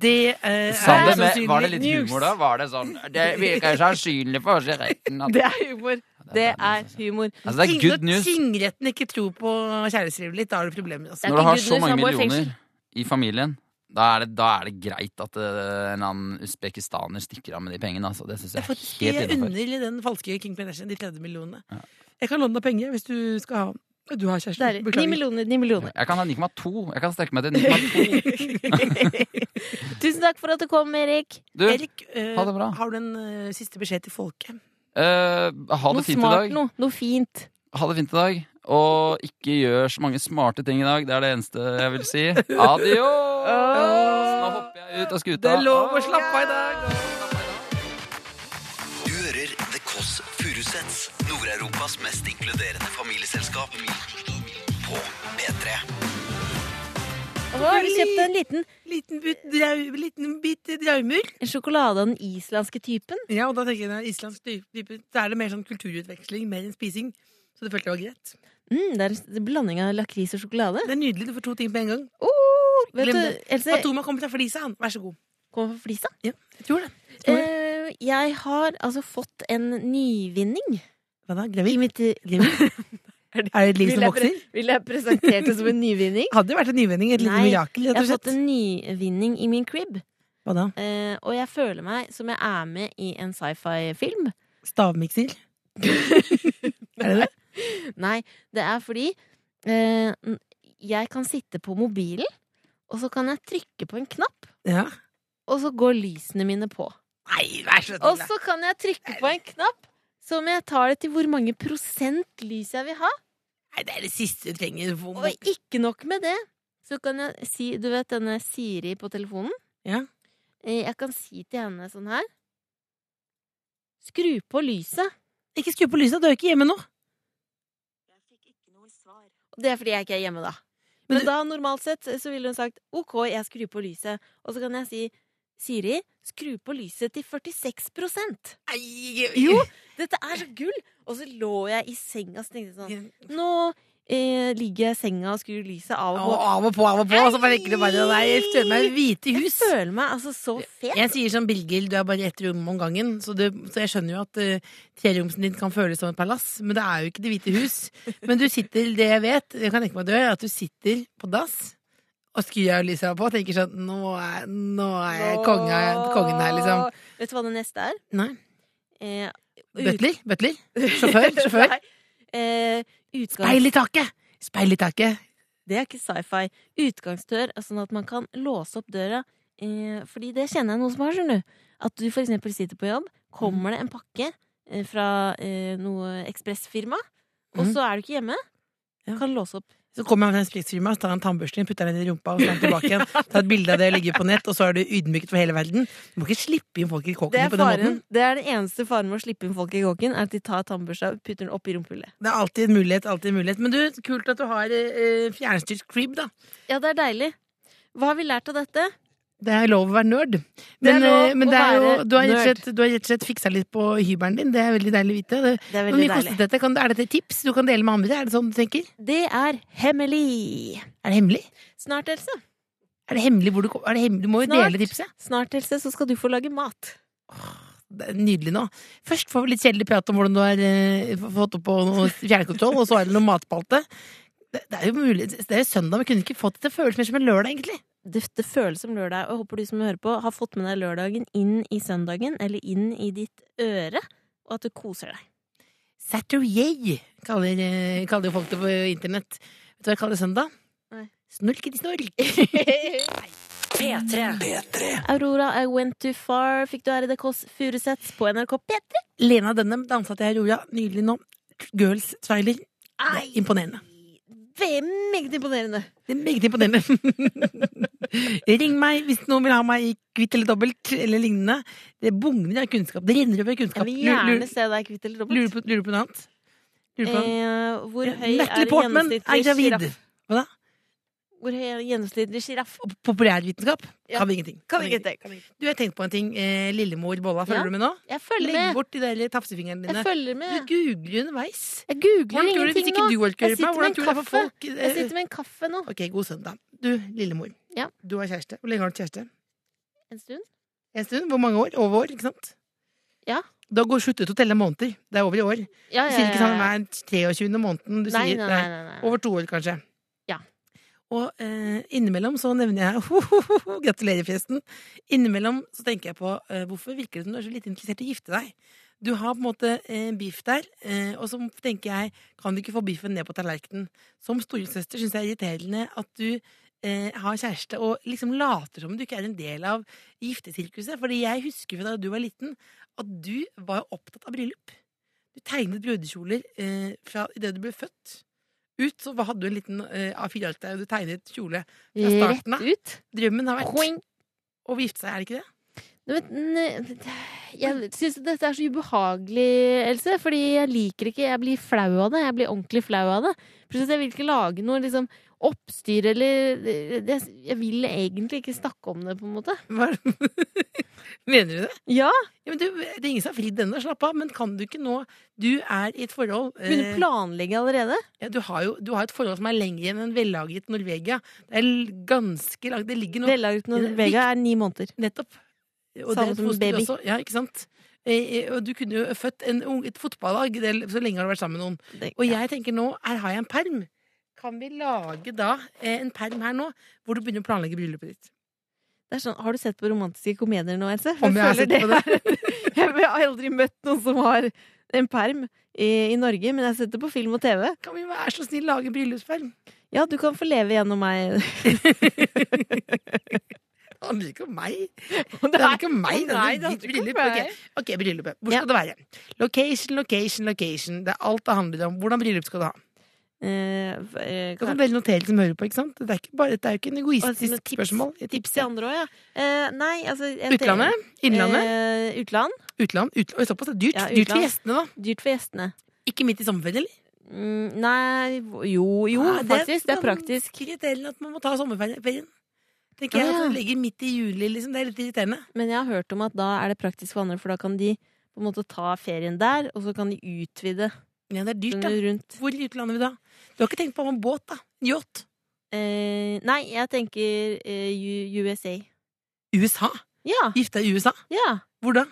[SPEAKER 4] Det eh,
[SPEAKER 8] Sa
[SPEAKER 4] er
[SPEAKER 8] det med, var
[SPEAKER 4] sannsynlig
[SPEAKER 8] det litt
[SPEAKER 4] news.
[SPEAKER 8] humor da? Var det sånn Det virker sannsynlig for oss i retten at
[SPEAKER 3] Det er humor. Det er humor.
[SPEAKER 8] Altså, det er good
[SPEAKER 4] Ting- Når
[SPEAKER 8] news
[SPEAKER 4] tingretten ikke tror på kjærlighetslivet ditt, da har du problemer. Altså.
[SPEAKER 3] er
[SPEAKER 8] når du
[SPEAKER 3] ikke
[SPEAKER 8] har
[SPEAKER 3] good
[SPEAKER 8] så
[SPEAKER 3] news,
[SPEAKER 8] mange
[SPEAKER 3] han må i
[SPEAKER 8] millioner i familien. Da er, det, da er det greit at eh, en eller annen usbekistaner stikker av med de pengene. Altså. Det syns jeg
[SPEAKER 4] Jeg,
[SPEAKER 8] er
[SPEAKER 4] faktisk, jeg
[SPEAKER 8] helt innafor.
[SPEAKER 4] unner den falske King Kardashian de 30 millionene. Jeg kan låne deg penger hvis du skal ha Du har kjæreste.
[SPEAKER 3] Deilig. Ni millioner, ni millioner.
[SPEAKER 8] Jeg kan ha 9,2. Jeg kan strekke meg til 9,2.
[SPEAKER 3] Tusen takk for at du kom, Erik.
[SPEAKER 8] Du,
[SPEAKER 4] Erik, eh,
[SPEAKER 8] Ha det bra.
[SPEAKER 4] har du en eh, siste beskjed til folket?
[SPEAKER 8] eh, ha
[SPEAKER 3] Noe
[SPEAKER 8] det fint i
[SPEAKER 3] smart
[SPEAKER 8] dag.
[SPEAKER 3] noe. Noe fint.
[SPEAKER 8] Ha det fint i dag. Og ikke gjør så mange smarte ting i dag. Det er det eneste jeg vil si. Adjø! Nå hopper jeg ut av skuta.
[SPEAKER 4] Det er lov å slappe av i dag!
[SPEAKER 2] Du hører The Kåss Furuseths, Nord-Europas mest inkluderende familieselskap på P3.
[SPEAKER 3] Og har du kjøpt en liten
[SPEAKER 4] Liten, bit drau- liten bit draumer.
[SPEAKER 3] sjokolade av den islandske typen?
[SPEAKER 4] Ja, og da tenker jeg når det er islandsk type, så er det mer sånn kulturutveksling, mer enn spising. Så det følte jeg var greit.
[SPEAKER 3] Mm, det er en blanding av lakris og sjokolade.
[SPEAKER 4] Det er nydelig. Du får to ting på en gang.
[SPEAKER 3] Oh, Vet
[SPEAKER 4] glem
[SPEAKER 3] du,
[SPEAKER 4] det.
[SPEAKER 3] Else,
[SPEAKER 4] Fatoma kommer fra flisa, han. Vær så god.
[SPEAKER 3] kommer fra flisa.
[SPEAKER 4] Jeg tror det. Tror det.
[SPEAKER 3] Eh, jeg har altså fått en nyvinning
[SPEAKER 4] Hva da?
[SPEAKER 3] i
[SPEAKER 4] Gravid?
[SPEAKER 3] mitt eh,
[SPEAKER 4] Er det et liv
[SPEAKER 3] Vil
[SPEAKER 4] som
[SPEAKER 3] jeg
[SPEAKER 4] vokser?
[SPEAKER 3] Vil jeg presentere det som en nyvinning?
[SPEAKER 4] Hadde jo vært en nyvending. Et lite
[SPEAKER 3] Nei,
[SPEAKER 4] mirakel,
[SPEAKER 3] Jeg
[SPEAKER 4] rett
[SPEAKER 3] har
[SPEAKER 4] og slett.
[SPEAKER 3] fått en nyvinning i min crib,
[SPEAKER 4] Hva da?
[SPEAKER 3] eh, og jeg føler meg som jeg er med i en sci-fi-film.
[SPEAKER 4] Stavmikser? er det det?
[SPEAKER 3] Nei, det er fordi eh, n- jeg kan sitte på mobilen, og så kan jeg trykke på en knapp,
[SPEAKER 4] Ja.
[SPEAKER 3] og så går lysene mine på.
[SPEAKER 4] Nei, vær så
[SPEAKER 3] Og
[SPEAKER 4] snill. da.
[SPEAKER 3] så kan jeg trykke på en knapp som jeg tar det til hvor mange prosent lys jeg vil ha.
[SPEAKER 4] Nei, det er det siste du trenger. Hvor må-
[SPEAKER 3] Og ikke nok med det, så kan jeg si Du vet denne Siri på telefonen?
[SPEAKER 4] Ja.
[SPEAKER 3] Eh, Jeg kan si til henne sånn her Skru på lyset.
[SPEAKER 4] Ikke skru på lyset, du er jo ikke hjemme nå.
[SPEAKER 3] Og det er fordi jeg ikke er hjemme da.
[SPEAKER 4] Men
[SPEAKER 3] Men da normalt sett så ville hun sagt OK, jeg skrur på lyset. Og så kan jeg si Siri, skru på lyset til 46 Jo, dette er så gull! Og så lå jeg i senga og så tenkte jeg sånn Nå eh, ligger jeg i senga og skrur lyset av og
[SPEAKER 4] Og
[SPEAKER 3] på.
[SPEAKER 4] av og på, av og på, og så bare rekker det bare Nei, jeg føler meg i hvite
[SPEAKER 3] Jeg
[SPEAKER 4] hus.
[SPEAKER 3] føler meg altså så fet.
[SPEAKER 4] Jeg sier som Birgil, du er bare ett rom om gangen, så, det, så jeg skjønner jo at uh, treromsen din kan føles som et palass, men det er jo ikke Det hvite hus. Men du sitter, det jeg vet, jeg kan tenke meg at du gjør, er at du sitter på dass og skrur av lyset av og på og tenker sånn Nå er, nå er jeg konge, kongen her, liksom.
[SPEAKER 3] Vet du hva det neste er?
[SPEAKER 4] Nei.
[SPEAKER 3] Eh,
[SPEAKER 4] Butler? Butler? Sjåfør? Sjåfør?
[SPEAKER 3] Nei. Eh, utgangs...
[SPEAKER 4] Speil i taket! Speil i taket.
[SPEAKER 3] Det er ikke sci-fi. Utgangsdør, altså sånn at man kan låse opp døra. Eh, fordi det kjenner jeg noen som har, skjønner du. At du for eksempel sitter på jobb, kommer det en pakke eh, fra eh, noe ekspressfirma, og
[SPEAKER 4] Mhm.
[SPEAKER 3] så er du ikke hjemme.
[SPEAKER 4] Ja.
[SPEAKER 3] Kan låse opp.
[SPEAKER 4] Så kommer han fra en spritsfirma, tar han tannbørsten, putter den i rumpa og så tar den tilbake igjen. Tar et bilde av det og legger på nett, og så er du ydmyket for hele verden. Du må ikke slippe inn folk i
[SPEAKER 3] Det
[SPEAKER 4] kåken
[SPEAKER 3] er,
[SPEAKER 4] på den måten.
[SPEAKER 3] faren, det er den eneste faren med å slippe inn folk i kåken, er at de tar tannbørsta og putter den opp i rumpehullet.
[SPEAKER 4] Det er alltid en mulighet, alltid en mulighet. Men du, kult at du har eh, fjernstyrt crib, da.
[SPEAKER 3] Ja, det er deilig. Hva har vi lært av dette?
[SPEAKER 4] Det er lov å være nerd.
[SPEAKER 3] Det er
[SPEAKER 4] Men,
[SPEAKER 3] lov
[SPEAKER 4] eh, men
[SPEAKER 3] å
[SPEAKER 4] det er jo,
[SPEAKER 3] være
[SPEAKER 4] du har rett og
[SPEAKER 3] nerd.
[SPEAKER 4] slett, du har rett og slett fiksa litt på hybelen din. Det er veldig deilig å vite. Det,
[SPEAKER 3] Det er
[SPEAKER 4] hvor
[SPEAKER 3] veldig
[SPEAKER 4] mye
[SPEAKER 3] deilig.
[SPEAKER 4] kostet dette? Kan, er dette et tips du kan dele med andre? Er det sånn du tenker?
[SPEAKER 3] Det er hemmelig.
[SPEAKER 4] Er det hemmelig?
[SPEAKER 3] Snart, Else.
[SPEAKER 4] Er det hemmelig hvor du, kom- er det hemmelig? du må jo
[SPEAKER 3] Snart.
[SPEAKER 4] dele tipset.
[SPEAKER 3] Snart, Else, så skal du få lage mat.
[SPEAKER 4] Det er nydelig nå. Først får vi litt kjedelig prat om hvordan du har eh, fått opp på noe fjernkontroll, og så er det noe matspalte. Det, det er jo mulig, det er jo søndag, men kunne ikke fått det til å føles mer som en lørdag, egentlig.
[SPEAKER 3] Det, det føles som lørdag, og jeg håper du som hører på, har fått med deg lørdagen inn i søndagen, eller inn i ditt øre, og at du koser deg.
[SPEAKER 4] Saturday kaller, eh, kaller jo folk det på internett. Vet du hva jeg kaller søndag?
[SPEAKER 3] Nei.
[SPEAKER 4] Snorketi-snork.
[SPEAKER 1] P3.
[SPEAKER 3] Aurora, I went too far, fikk du her i The Kåss Furuseths på NRK P3.
[SPEAKER 4] Lena Dønnem dansa til Aurora nylig nå. Girls Tweiler. Det er Imponerende.
[SPEAKER 3] Det er meget imponerende.
[SPEAKER 4] Det er meget imponerende. Ring meg hvis noen vil ha meg i kvitt eller dobbelt eller lignende. Det bugner av kunnskap. Det renner over av
[SPEAKER 3] Jeg
[SPEAKER 4] kunnskap.
[SPEAKER 3] vil
[SPEAKER 4] Lurer- lurer-
[SPEAKER 3] gjerne se deg kvitt eller dobbelt.
[SPEAKER 4] Lurer du på, lurer du på noe annet? Lurer du på noe annet?
[SPEAKER 3] Eh, hvor høy
[SPEAKER 4] Natalie
[SPEAKER 3] er
[SPEAKER 4] Portman er
[SPEAKER 3] gjennomsnittlig
[SPEAKER 4] gravid.
[SPEAKER 3] sjiraff? Hvor høy er gjennomsnittlig sjiraff?
[SPEAKER 4] Og populærvitenskap
[SPEAKER 3] Ja.
[SPEAKER 4] kan vi ingenting.
[SPEAKER 3] Kan vi ingenting.
[SPEAKER 4] Du, jeg tenkte på en ting. Eh, Lillemor Bolla,
[SPEAKER 3] Ja.
[SPEAKER 4] følger du med nå?
[SPEAKER 3] Jeg følger
[SPEAKER 4] Legg
[SPEAKER 3] med.
[SPEAKER 4] bort de der tafsefingrene dine.
[SPEAKER 3] Jeg følger
[SPEAKER 4] Du
[SPEAKER 3] med.
[SPEAKER 4] googler underveis.
[SPEAKER 3] Jeg googler
[SPEAKER 4] Hvordan tror du, hvis
[SPEAKER 3] ingenting nå.
[SPEAKER 4] ikke du orker
[SPEAKER 3] Jeg
[SPEAKER 4] hjelpe meg,
[SPEAKER 3] sitter
[SPEAKER 4] hvordan
[SPEAKER 3] med
[SPEAKER 4] tror du det er
[SPEAKER 3] en
[SPEAKER 4] for
[SPEAKER 3] kaffe.
[SPEAKER 4] folk?
[SPEAKER 3] Jeg
[SPEAKER 4] Eh,
[SPEAKER 3] sitter med en kaffe nå
[SPEAKER 4] Ok, god søndag. Du, Lillemor.
[SPEAKER 3] Ja.
[SPEAKER 4] Du har kjæreste. Hvor lenge har du kjæreste?
[SPEAKER 3] en stund.
[SPEAKER 4] En stund? Hvor mange år? Over år, ikke sant?
[SPEAKER 3] Ja.
[SPEAKER 4] Da går sluttet å telle måneder. Det er over i år.
[SPEAKER 3] Ja, ja,
[SPEAKER 4] Du sier ikke
[SPEAKER 3] ja,
[SPEAKER 4] sånn
[SPEAKER 3] ja.
[SPEAKER 4] hver 23. måneden. Du
[SPEAKER 3] Nei,
[SPEAKER 4] sier
[SPEAKER 3] nei, nei, nei, nei.
[SPEAKER 4] Over to år, kanskje.
[SPEAKER 3] Ja.
[SPEAKER 4] Og eh, innimellom så nevner jeg hohoho, Gratulerer, forresten. Innimellom så tenker jeg på eh, hvorfor virker det som du er så lite interessert i å gifte deg? Du har på en måte eh, biff der, eh, og så tenker jeg kan du ikke få biffen ned på tallerkenen? Som storesøster syns jeg er irriterende at du eh, har kjæreste og liksom later som du ikke er en del av giftesirkuset. Fordi jeg husker fra da du var liten, at du var jo opptatt av bryllup. Du tegnet brudekjoler eh, fra idet du ble født ut, så hadde du en liten eh, A4-ark der, og du tegnet kjole. Fra starten
[SPEAKER 3] Rett
[SPEAKER 4] av.
[SPEAKER 3] ut.
[SPEAKER 4] Drømmen har vært
[SPEAKER 3] Poeng.
[SPEAKER 4] å gifte seg, er det ikke det?
[SPEAKER 3] Du vet, n- jeg syns dette er så ubehagelig, Else. Fordi jeg liker ikke Jeg blir flau av det. Jeg blir ordentlig flau av det. Plutselig, Jeg vil ikke lage noe liksom, eh, oppstyr eller det- Jeg vil egentlig ikke snakke om det, på en måte.
[SPEAKER 4] Hva er det? Mener du det?
[SPEAKER 3] Ja,
[SPEAKER 4] Ja, men du, det er ingen som har fridd ennå, slapp av. Men kan du ikke nå Du er i et forhold
[SPEAKER 3] Begynner å
[SPEAKER 4] eh,
[SPEAKER 3] planlegge allerede.
[SPEAKER 4] ja, du, har jo, du har et forhold som er lenger enn en vellagret Norvegia. Det er l- ganske langt. Det ligger noe
[SPEAKER 3] Vellaget Norvegia er ni måneder.
[SPEAKER 4] Nettopp.
[SPEAKER 3] Samme
[SPEAKER 4] Og det er et
[SPEAKER 3] som
[SPEAKER 4] foster
[SPEAKER 3] baby.
[SPEAKER 4] Også, ja, ikke sant? Eh, eh, og du kunne jo født en ung, et fotballag det, er- så lenge har du vært sammen med noen.
[SPEAKER 3] Det-
[SPEAKER 4] Og jeg tenker nå, her har jeg en perm. Kan vi lage da eh, en perm her nå, hvor du begynner å planlegge bryllupet ditt?
[SPEAKER 3] Det er sånn, har du sett på romantiske komedier nå, Else? For
[SPEAKER 4] Om jeg har
[SPEAKER 3] føler
[SPEAKER 4] sett på det?
[SPEAKER 3] er- jeg har aldri møtt noen som har en perm i, i Norge, men jeg har sett det på film og TV.
[SPEAKER 4] Kan vi være så snill lage en bryllupsperm?
[SPEAKER 3] Ja, du kan få leve gjennom meg.
[SPEAKER 4] Det handler ikke om meg.
[SPEAKER 3] Nei,
[SPEAKER 4] Det er ikke om meg.
[SPEAKER 3] å nei, det
[SPEAKER 4] det er
[SPEAKER 3] handler
[SPEAKER 4] ditt
[SPEAKER 3] ikke om
[SPEAKER 4] bryllup.
[SPEAKER 3] meg.
[SPEAKER 4] Ok, ok, bryllupet. Hvor
[SPEAKER 3] Ja.
[SPEAKER 4] skal det være? Location, location, location. Det er alt det handler om. Hvordan bryllup skal du ha?
[SPEAKER 3] Eh, f- eh,
[SPEAKER 4] Det
[SPEAKER 3] kan-
[SPEAKER 4] kan dere notere som hører på, ikke sant? Det er ikke bare, det er jo ikke
[SPEAKER 3] Altså,
[SPEAKER 4] en
[SPEAKER 3] med
[SPEAKER 4] egoistisk
[SPEAKER 3] tips-
[SPEAKER 4] spørsmål.
[SPEAKER 3] Tips
[SPEAKER 4] Et tips,
[SPEAKER 3] til
[SPEAKER 4] ja.
[SPEAKER 3] andre òg, ja. Eh, nei, altså jeg tenker-
[SPEAKER 4] Utlandet? Innlandet?
[SPEAKER 3] Eh, utland.
[SPEAKER 4] Utland? utland. Oi, såpass. det er Dyrt.
[SPEAKER 3] Ja,
[SPEAKER 4] Dyrt for
[SPEAKER 3] utland.
[SPEAKER 4] gjestene, da.
[SPEAKER 3] Dyrt for gjestene.
[SPEAKER 4] Ikke midt i sommerferien, eller?
[SPEAKER 3] Mm, nei Jo, jo,
[SPEAKER 4] Ja,
[SPEAKER 3] faktisk. Det er
[SPEAKER 4] sånn
[SPEAKER 3] praktisk.
[SPEAKER 4] Irriterende at man må ta sommerferien. Tenker
[SPEAKER 3] Ja,
[SPEAKER 4] jeg at
[SPEAKER 3] ja.
[SPEAKER 4] det ligger midt i juli, liksom. Det er litt irriterende.
[SPEAKER 3] Men jeg har hørt om at da er det praktisk for andre, for da kan de på en måte ta ferien der, og så kan de utvide
[SPEAKER 4] Ja, det er dyrt,
[SPEAKER 3] den
[SPEAKER 4] da.
[SPEAKER 3] rundt.
[SPEAKER 4] Hvor i utlandet vil du da? Du har ikke tenkt på å ha en båt, da? En yacht?
[SPEAKER 3] Eh, nei, jeg tenker eh, U- USA.
[SPEAKER 4] USA?
[SPEAKER 3] Ja.
[SPEAKER 4] Gifte deg i USA?
[SPEAKER 3] ja.
[SPEAKER 4] Hvor da?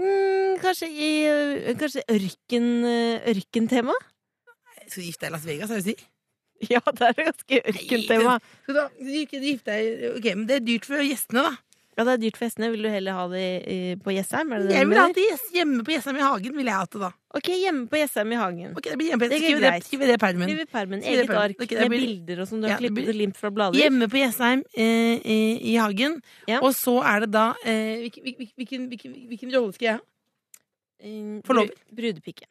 [SPEAKER 3] Mm, kanskje i eh, Kanskje ørken, eh, ørkentema?
[SPEAKER 4] Skal du gifte deg i Las Vegas, har jeg å si?
[SPEAKER 3] Ja, det er ganske
[SPEAKER 4] ørkentema. Skal du, ha- du ikke gifte deg i- Ok, men det er dyrt for gjestene, da.
[SPEAKER 3] Ja, det er dyrt for gjestene. Vil du heller ha det eh, på Jessheim? Er det det
[SPEAKER 4] Jeg
[SPEAKER 3] du
[SPEAKER 4] vil ha
[SPEAKER 3] mener?
[SPEAKER 4] det gjest- hjemme på Jessheim i hagen. vil jeg ha det da
[SPEAKER 3] Ok, hjemme på Jessheim i hagen.
[SPEAKER 4] Ok, det blir hjemme på
[SPEAKER 3] Det er
[SPEAKER 4] Jessheim. Skriv det,
[SPEAKER 3] greit.
[SPEAKER 4] skriv det i permen.
[SPEAKER 3] Skriv i permen.
[SPEAKER 4] Skriv i
[SPEAKER 3] Eget
[SPEAKER 4] permen.
[SPEAKER 3] ark
[SPEAKER 4] Ok, det
[SPEAKER 3] med
[SPEAKER 4] blir-
[SPEAKER 3] bilder og som du
[SPEAKER 4] Ja,
[SPEAKER 3] har
[SPEAKER 4] det blir-
[SPEAKER 3] klippet og limt fra blader.
[SPEAKER 4] Hjemme på Jessheim eh, i, i hagen.
[SPEAKER 3] Ja.
[SPEAKER 4] Og så er det da eh, hvilken, hvilken, hvilken, hvilken, hvilken rolle skal jeg ha?
[SPEAKER 3] Eh,
[SPEAKER 4] Forlover.
[SPEAKER 3] bru- Brudepike.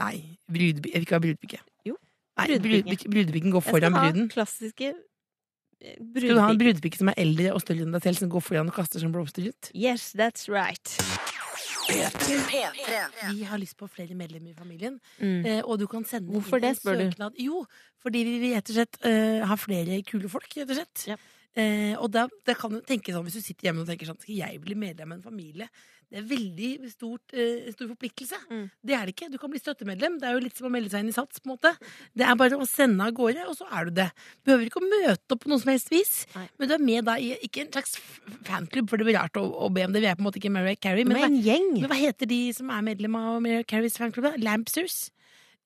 [SPEAKER 4] Nei, brudeby, jeg vil ikke ha brudepikke.
[SPEAKER 3] Jo,
[SPEAKER 4] Nei,
[SPEAKER 3] brudepikke.
[SPEAKER 4] brudepikke. Brudepikken går
[SPEAKER 3] Jeg skal
[SPEAKER 4] foran
[SPEAKER 3] ha
[SPEAKER 4] bruden.
[SPEAKER 3] klassiske eh,
[SPEAKER 4] Skal du ha en
[SPEAKER 3] brudepiker.
[SPEAKER 4] brudepikke som er eldre og større enn deg selv, som går foran og kaster som blomster ut?
[SPEAKER 3] Yes, that's right.
[SPEAKER 4] Vi har lyst på flere medlemmer i familien,
[SPEAKER 3] Mm.
[SPEAKER 4] eh, og du kan sende
[SPEAKER 3] Hvorfor det, spør du?
[SPEAKER 4] søknad. Jo, fordi vi vil rett og slett eh, ha flere kule folk, rett og slett.
[SPEAKER 3] Ja.
[SPEAKER 4] Eh, og da, da kan du tenke sånn, hvis du sitter hjemme og tenker sånn, skal jeg bli medlem av en familie? Det er veldig stort, eh, stor forpliktelse.
[SPEAKER 3] Mm.
[SPEAKER 4] Det er det ikke. Du kan bli støttemedlem. Det er jo litt som å melde seg inn i SATS, på en måte. Det er bare å sende av gårde, og så er du det. Du behøver ikke å møte opp på noe som helst vis,
[SPEAKER 3] Nei.
[SPEAKER 4] men du er med da i, ikke en slags f- fanklubb, for det blir rart å, å be om det. Vi er på en måte ikke Mariah Carey, men
[SPEAKER 3] Med en gjeng.
[SPEAKER 4] men hva heter de som er medlem av Mariah Careys fanklubb? da? Lampsters?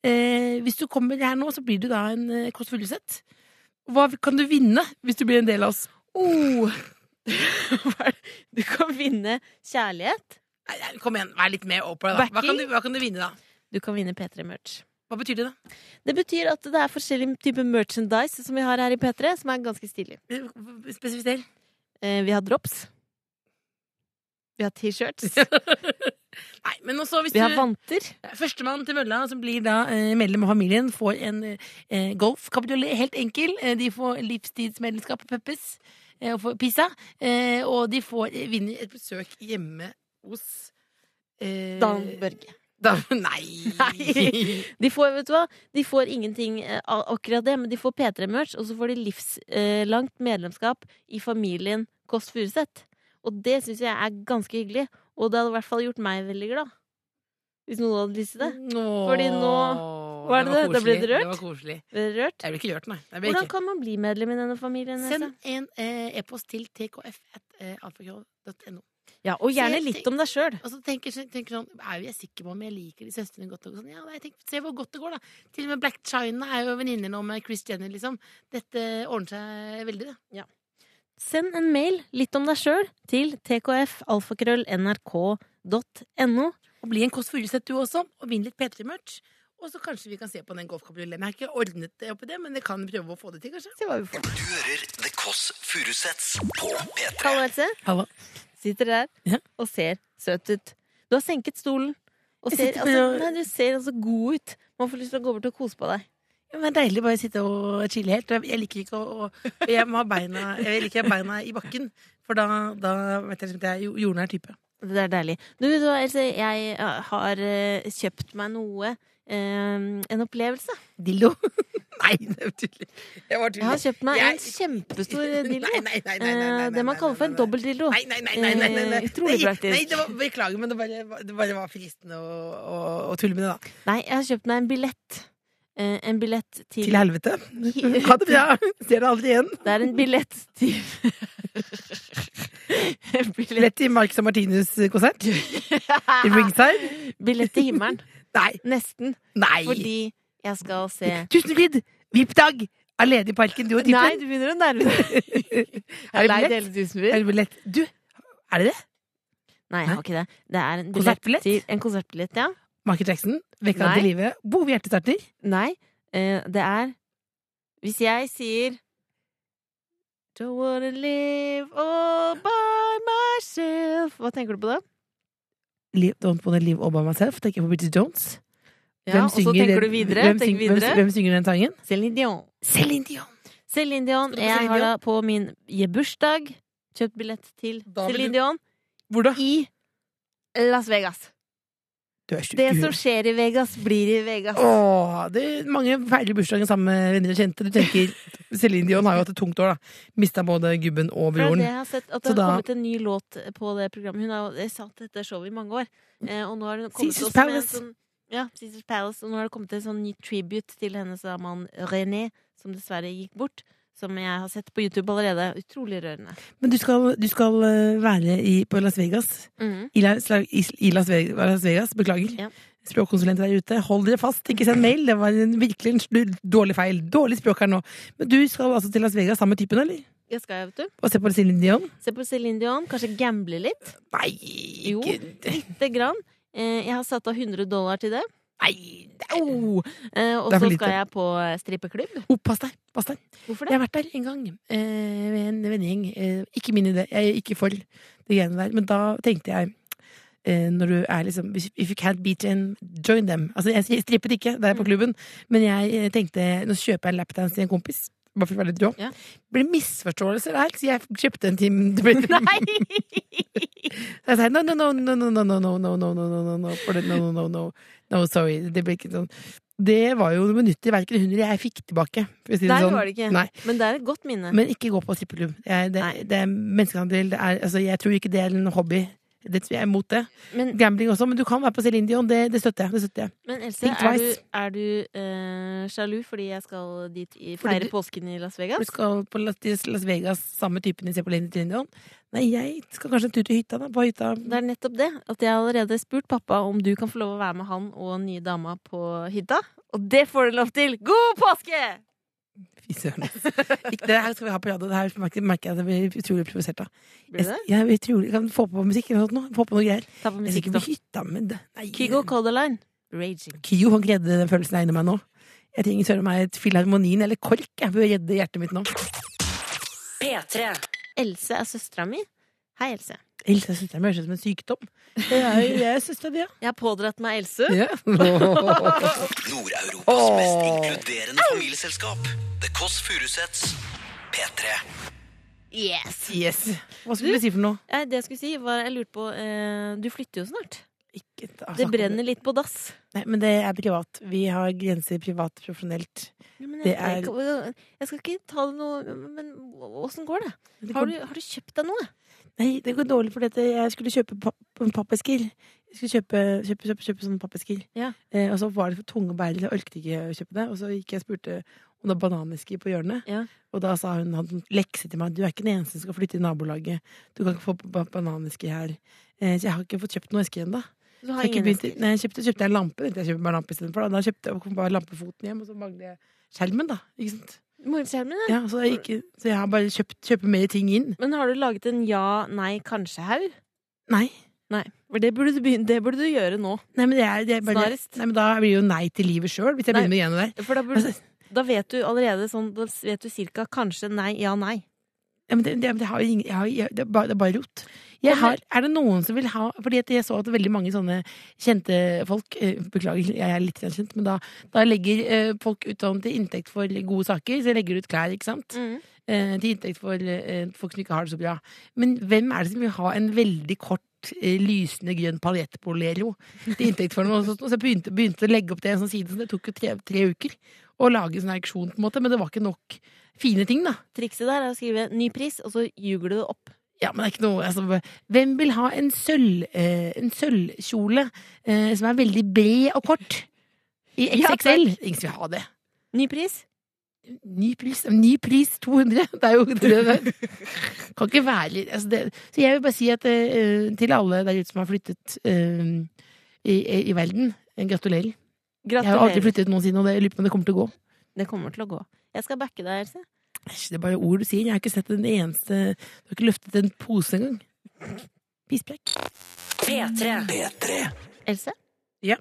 [SPEAKER 4] Eh, hvis du kommer her nå, så blir du da en eh, Kåss Furuseth. Hva kan du vinne hvis du blir en del av oss?
[SPEAKER 3] Oh. Hva er det? Du kan vinne kjærlighet.
[SPEAKER 4] Nei, nei, kom igjen, vær litt med Opera, da. Hva
[SPEAKER 3] Backing?
[SPEAKER 4] kan, du, hva kan du vinne, da?
[SPEAKER 3] Du kan vinne P3-merch.
[SPEAKER 4] Hva betyr det, da?
[SPEAKER 3] Det betyr at det er forskjellige typer merchandise som vi har her i P3, som er ganske stilig.
[SPEAKER 4] Eh, Spesifiser.
[SPEAKER 3] Eh, vi har drops. Vi har T-shirts.
[SPEAKER 4] Nei, men også hvis
[SPEAKER 3] Vi har
[SPEAKER 4] du
[SPEAKER 3] vanter.
[SPEAKER 4] Førstemann til mølla, som blir da eh, medlem av familien, får en eh, Golf Cabriolet. Helt enkel. Eh, De får livstidsmedlemskap på Peppes eh, og får Pisa. Eh, og de får eh, vinner et besøk hjemme hos eh,
[SPEAKER 3] Dan Børge.
[SPEAKER 4] Dan- nei.
[SPEAKER 3] Nei. De får, vet du hva? De får ingenting eh, av akkurat det, men de får P3-merch, og så får de livslangt medlemskap i familien Kåss Furuseth. Og det syns jeg er ganske hyggelig, og det hadde i hvert fall gjort meg veldig glad. Hvis noen hadde lyst til det.
[SPEAKER 4] Nå-
[SPEAKER 3] Fordi nå- hva er det
[SPEAKER 4] var
[SPEAKER 3] det? Da ble
[SPEAKER 4] koselig.
[SPEAKER 3] det rørt?
[SPEAKER 4] var koselig.
[SPEAKER 3] Ble dere rørt?
[SPEAKER 4] Jeg ble ikke rørt, nei. Jeg ble
[SPEAKER 3] Hvordan
[SPEAKER 4] ikke.
[SPEAKER 3] kan man bli medlem i denne familien? Else?
[SPEAKER 4] Send en eh, e-post til eh, tkf.alfakrøll.no.
[SPEAKER 3] Ja, og gjerne
[SPEAKER 4] Se-
[SPEAKER 3] litt om deg sjøl.
[SPEAKER 4] Og så tenker, tenker sånn, er jeg sikker på om jeg liker de søstrene godt nok? Og Sånn, ja, nei, tenk, se hvor godt det går, da. Til og med Black China er jo venninner nå med Chris Jenner, liksom. Dette ordner seg veldig, det.
[SPEAKER 3] Send en mail litt om deg sjøl til tkfalfakrøllnrk.no.
[SPEAKER 4] Og bli en Kåss Furuseth du også, og vinn litt P3-merch. Og så kanskje vi kan se på den golfkabrioleten. Jeg har ikke ordnet det oppi det, men jeg kan prøve å få det til, kanskje.
[SPEAKER 3] Se hva vi får.
[SPEAKER 2] Du hører The Kåss Furuseths på P3.
[SPEAKER 3] Hallo, Else.
[SPEAKER 4] Hallo.
[SPEAKER 3] Sitter der
[SPEAKER 4] Ja.
[SPEAKER 3] og ser søt ut. Du har senket stolen. Og
[SPEAKER 4] Jeg
[SPEAKER 3] ser,
[SPEAKER 4] sitter
[SPEAKER 3] altså,
[SPEAKER 4] med-
[SPEAKER 3] nei, du ser altså god ut. Man får lyst til å gå bort og kose på deg.
[SPEAKER 4] Ja, men Det er deilig bare å sitte og chille helt. Jeg jeg liker ikke å, å og Jeg må ha beina, jeg liker å ha beina i bakken, for da, da vet jeg at jeg er jo- jordnær type.
[SPEAKER 3] Det er deilig. Du, vet du hva, Else, jeg eh, har eh, kjøpt meg noe eh, en opplevelse.
[SPEAKER 4] Dildo. nei, det er tydelig. Jeg var
[SPEAKER 3] Jeg har
[SPEAKER 4] tydelig.
[SPEAKER 3] kjøpt meg
[SPEAKER 4] Jeg-
[SPEAKER 3] en kjempestor dildo.
[SPEAKER 4] Nei, nei, nei, nei, nei, nei,
[SPEAKER 3] eh,
[SPEAKER 4] nei,
[SPEAKER 3] det man
[SPEAKER 4] nei,
[SPEAKER 3] kaller for en
[SPEAKER 4] nei, nei.
[SPEAKER 3] dobbeltdildo.
[SPEAKER 4] Nei, nei, nei, nei, nei, nei,
[SPEAKER 3] Eh,
[SPEAKER 4] nei.
[SPEAKER 3] utrolig
[SPEAKER 4] Nei,
[SPEAKER 3] praktisk.
[SPEAKER 4] Nei, det var, beklager, men det bare, det bare var fristende å, å, å tulle med det, da.
[SPEAKER 3] Nei, jeg har kjøpt meg en billett. Eh, en billett til,
[SPEAKER 4] Til helvete. Ha det bra. Ser deg aldri igjen.
[SPEAKER 3] Det er en billett til En billett,
[SPEAKER 4] Lett til Marcus og Martinus-konsert. I ringside.
[SPEAKER 3] billett til himmelen.
[SPEAKER 4] Nei.
[SPEAKER 3] Nesten.
[SPEAKER 4] Nei.
[SPEAKER 3] Fordi jeg skal se
[SPEAKER 4] Tusenfryd! Vippdag! Alene i parken, du og
[SPEAKER 3] Nei,
[SPEAKER 4] tippen.
[SPEAKER 3] du begynner å nærme deg.
[SPEAKER 4] Er det
[SPEAKER 3] Lei
[SPEAKER 4] billett?
[SPEAKER 3] deg hele Tusenfryd.
[SPEAKER 4] Er det billett? Du, er det det?
[SPEAKER 3] Nei, jeg har ikke det. Det er en billett
[SPEAKER 4] Konsertbillett?
[SPEAKER 3] til En konsertbillett, ja.
[SPEAKER 4] Michael Jackson, Vekk han
[SPEAKER 3] Nei.
[SPEAKER 4] til live. Bove hjertestarter.
[SPEAKER 3] Nei, eh, det er Hvis jeg sier Don't wanna live all by myself Hva tenker du på da?
[SPEAKER 4] Liv- Don't wanna live all by myself. Tenker jeg på Bridget Jones.
[SPEAKER 3] Ja, og så tenker
[SPEAKER 4] den-
[SPEAKER 3] du videre.
[SPEAKER 4] Hvem,
[SPEAKER 3] tenk
[SPEAKER 4] syng,
[SPEAKER 3] videre.
[SPEAKER 4] Hvem, hvem synger den sangen?
[SPEAKER 3] Céline Dion.
[SPEAKER 4] Céline Dion.
[SPEAKER 3] Céline Dion.
[SPEAKER 4] Skal du på
[SPEAKER 3] Jeg
[SPEAKER 4] Céline
[SPEAKER 3] har da
[SPEAKER 4] Dion?
[SPEAKER 3] på min bursdag kjøpt billett til
[SPEAKER 4] Da vil
[SPEAKER 3] Céline
[SPEAKER 4] du-
[SPEAKER 3] Dion
[SPEAKER 4] Hvor da?
[SPEAKER 3] i Las Vegas.
[SPEAKER 4] Du er sjuk.
[SPEAKER 3] Det
[SPEAKER 4] i
[SPEAKER 3] som
[SPEAKER 4] huet.
[SPEAKER 3] skjer i Vegas, blir i Vegas.
[SPEAKER 4] Åh, det er mange feiler bursdagen sammen med venner og kjente. Du tenker, Céline Dion har jo hatt et tungt år, da. Mista både gubben og
[SPEAKER 3] For det er
[SPEAKER 4] broren.
[SPEAKER 3] det jeg har sett, at
[SPEAKER 4] Så
[SPEAKER 3] det
[SPEAKER 4] da-
[SPEAKER 3] har kommet en ny låt på det programmet. Hun har jo satt dette showet i mange år. Eh, og nå har hun kommet også
[SPEAKER 4] Caesar's
[SPEAKER 3] med en
[SPEAKER 4] Palace.
[SPEAKER 3] sånn ja, Caesar's Palace. Og nå har det kommet en sånn ny tribute til hennes da mann René, som dessverre gikk bort. Som jeg har sett på YouTube allerede. Utrolig rørende.
[SPEAKER 4] Men du skal, du skal eh, være i, på Las Vegas. I Las, i, i Las, Vegas, Las Vegas. Beklager.
[SPEAKER 3] Ja.
[SPEAKER 4] Språkkonsulenter der ute, hold dere fast. Ikke send mail. Det var en, virkelig en slu- dårlig feil. Dårlig språk her nå. Men du skal altså til Las Vegas sammen med typen, eller?
[SPEAKER 3] Jeg skal, jeg, vet du.
[SPEAKER 4] Og se på Céline Dion?
[SPEAKER 3] Se på Céline Dion. Kanskje gamble litt.
[SPEAKER 4] Nei,
[SPEAKER 3] Jo.
[SPEAKER 4] ikke
[SPEAKER 3] Lite grann. Eh, jeg har satt av 100 dollar til det.
[SPEAKER 4] Nei, au!
[SPEAKER 3] Eh, og
[SPEAKER 4] Det er for
[SPEAKER 3] så
[SPEAKER 4] lite.
[SPEAKER 3] skal jeg på eh, strippeklubb.
[SPEAKER 4] Oh, pass deg. Pass deg.
[SPEAKER 3] Hvorfor
[SPEAKER 4] Jeg har vært der en gang eh, med en vennegjeng. Eh, ikke min idé. Jeg er ikke for det greiene der. Men da tenkte jeg eh, når du er liksom If you can't beat them, join them. Altså, jeg strippet ikke der
[SPEAKER 3] Mm.
[SPEAKER 4] på klubben, men jeg eh, tenkte nå kjøper jeg en lapdance til en kompis. Bare for å være litt rå.
[SPEAKER 3] Ja.
[SPEAKER 4] Ble misforståelser der, så jeg kjøpte en time. Det ble- Så jeg sa no, no, no, no, no, no, no, no, no, no, no, no, no, no, for det- no, no, no, no, no, sorry. Det ble ikke sånn. Det var jo minutter verken hun eller jeg fikk tilbake. for å si det
[SPEAKER 3] Nei,
[SPEAKER 4] sånn.
[SPEAKER 3] det var det ikke.
[SPEAKER 4] Nei.
[SPEAKER 3] Men det er et godt minne.
[SPEAKER 4] Men ikke gå på strippeklubb. Jeg- Det,
[SPEAKER 3] Nei.
[SPEAKER 4] det er menneskehandel. Det er, altså, jeg tror ikke det er en hobby. Det, jeg er imot det.
[SPEAKER 3] Men,
[SPEAKER 4] Gambling også, men du kan være på Céline Dion. Det, det støtter jeg. Det støtter jeg.
[SPEAKER 3] men Else,
[SPEAKER 4] Think
[SPEAKER 3] er du,
[SPEAKER 4] twice.
[SPEAKER 3] er du eh, sjalu fordi jeg skal dit i,
[SPEAKER 4] Fordi
[SPEAKER 3] feire
[SPEAKER 4] du-
[SPEAKER 3] påsken i Las
[SPEAKER 4] Du
[SPEAKER 3] Vegas?
[SPEAKER 4] skal på Las, til Las Vegas, samme typen i Céline Dion. Nei, jeg skal kanskje en tur til hytta, da. På hytta.
[SPEAKER 3] Det er nettopp det. At jeg har allerede spurt pappa om du kan få lov å være med han og den nye dama på hytta. Og det får du lov til! God påske!
[SPEAKER 4] Fy søren. altså. Ikke- Det her skal vi ha på radio. Det her merker merker jeg at jeg blir utrolig provosert av.
[SPEAKER 3] Blir det?
[SPEAKER 4] Jeg, jeg, utrolig, kan få på musikk eller noe sånt. nå. Få på noe greier.
[SPEAKER 3] Ta på
[SPEAKER 4] Jeg skal
[SPEAKER 3] musikken,
[SPEAKER 4] ikke på
[SPEAKER 3] da.
[SPEAKER 4] hytta, men det- Nei.
[SPEAKER 3] Kygo Colderline. Raging.
[SPEAKER 4] Kyo han redde den følelsen jeg er inni meg nå. Jeg trenger søren meg et filharmonien eller KORK jeg for å redde hjertet mitt nå.
[SPEAKER 1] P3.
[SPEAKER 3] Else er søstera mi. Hei, Else.
[SPEAKER 4] Else syns jeg høres ut som en sykdom. Jeg er, jeg er søstera di,
[SPEAKER 3] Jeg har pådratt meg Else.
[SPEAKER 4] ja. Åh.
[SPEAKER 2] Nord-Europas mest inkluderende familieselskap. The Kåss Furuseths. P3.
[SPEAKER 3] Yes!
[SPEAKER 4] Yes. Hva skulle du si for noe?
[SPEAKER 3] Nei, Det jeg skulle si, var jeg lurte på eh, Du flytter jo snart.
[SPEAKER 4] Ikke
[SPEAKER 3] Det
[SPEAKER 4] ta- snakke om
[SPEAKER 3] brenner litt på dass.
[SPEAKER 4] Nei, men det er privat. Vi har grenser privat profesjonelt.
[SPEAKER 3] Ja, men
[SPEAKER 4] Det
[SPEAKER 3] jeg, jeg,
[SPEAKER 4] er-
[SPEAKER 3] kan- jeg skal ikke ta det noe Men åssen går det?
[SPEAKER 4] Det
[SPEAKER 3] Har
[SPEAKER 4] går,
[SPEAKER 3] du, har du kjøpt deg noe?
[SPEAKER 4] Nei, det går dårlig fordi at jeg skulle kjøpe papp, pappesker. Jeg skulle kjøpe, kjøpe, kjøpe, kjøpe sånne pappesker.
[SPEAKER 3] Ja.
[SPEAKER 4] Eh, og så var det for tunge bærer, så jeg orket ikke å kjøpe det. Og så gikk jeg og spurte om det var bananesker på hjørnet.
[SPEAKER 3] Ja.
[SPEAKER 4] Og da sa hun hadde en lekse til meg. Du er ikke den eneste som skal flytte i nabolaget. Du kan ikke få ba- bananeske her. Eh, så jeg har ikke fått kjøpt noen esker ennå.
[SPEAKER 3] Du
[SPEAKER 4] Så
[SPEAKER 3] har
[SPEAKER 4] jeg ikke
[SPEAKER 3] ingen
[SPEAKER 4] begynte-
[SPEAKER 3] esker.
[SPEAKER 4] Nei, jeg kjøpte, kjøpte jeg en lampe. tenkte Jeg kjøper bare lampe i stedet for, da. da kjøpte jeg kom bare lampefoten hjem, og så mangler jeg skjermen, da. Ikke sant?
[SPEAKER 3] Morgenskjermen, ja.
[SPEAKER 4] Ja, så, jeg ikke, så jeg har bare kjøpt kjøper mer ting inn.
[SPEAKER 3] Men har du laget en ja, nei, kanskje-haug?
[SPEAKER 4] Nei.
[SPEAKER 3] Nei. For det burde, du begynne, det burde du gjøre nå.
[SPEAKER 4] Nei, men det er, det er bare,
[SPEAKER 3] Snarest.
[SPEAKER 4] Nei, men da blir det jo nei til livet sjøl, hvis jeg
[SPEAKER 3] Nei.
[SPEAKER 4] begynner med greiene der. Altså,
[SPEAKER 3] For da, burde, da vet du allerede sånn Da vet du cirka kanskje nei, ja, nei.
[SPEAKER 4] Ja, men det, det, men det, har, jo ingen- jeg har, jeg, det, er bare, det er bare rot. Jeg har, er det noen som vil ha Fordi at jeg så at veldig mange sånne kjente folk eh, Beklager, jeg er litt grann kjent, men da, da legger eh, folk ut sånn til inntekt for gode saker. Så legger de ut klær, ikke sant?
[SPEAKER 3] Mm.
[SPEAKER 4] Eh, til inntekt for eh, folk som ikke har det så bra. Men hvem er det som vil ha en veldig kort svart, eh, lysende grønn paljettbolero til inntekt for noe. sånt. Så jeg begynte, begynte å legge opp det i en sånn side, så det tok jo tre, tre uker å lage en sånn auksjon, på en måte, men det var ikke nok fine ting, da.
[SPEAKER 3] Trikset der er å skrive 'ny pris', og så ljuger du det opp.
[SPEAKER 4] Ja, men det er ikke noe altså, Hvem vil ha en, sølv, eh, en sølvkjole eh, som er veldig bred og kort? I
[SPEAKER 5] Ja,
[SPEAKER 4] XXL? Ingen vil ha det.
[SPEAKER 3] Ny pris.
[SPEAKER 4] Ny pris, ny pris 200! Det er jo det der. Kan ikke være litt altså det, Så jeg vil bare si at eh, til alle der ute som har flyttet eh, i, i, i verden, eh, gratulerer. Jeg har aldri
[SPEAKER 3] Gratulerer.
[SPEAKER 4] flyttet noensinne, og det jeg lurer på om det kommer til å gå.
[SPEAKER 3] Det kommer til å gå. Jeg skal backe deg, Else.
[SPEAKER 4] Æsj, det er bare ord du sier. Jeg har ikke sett en eneste Du har ikke løftet en pose engang. Pispreik.
[SPEAKER 1] P3.
[SPEAKER 3] Else?
[SPEAKER 4] Ja.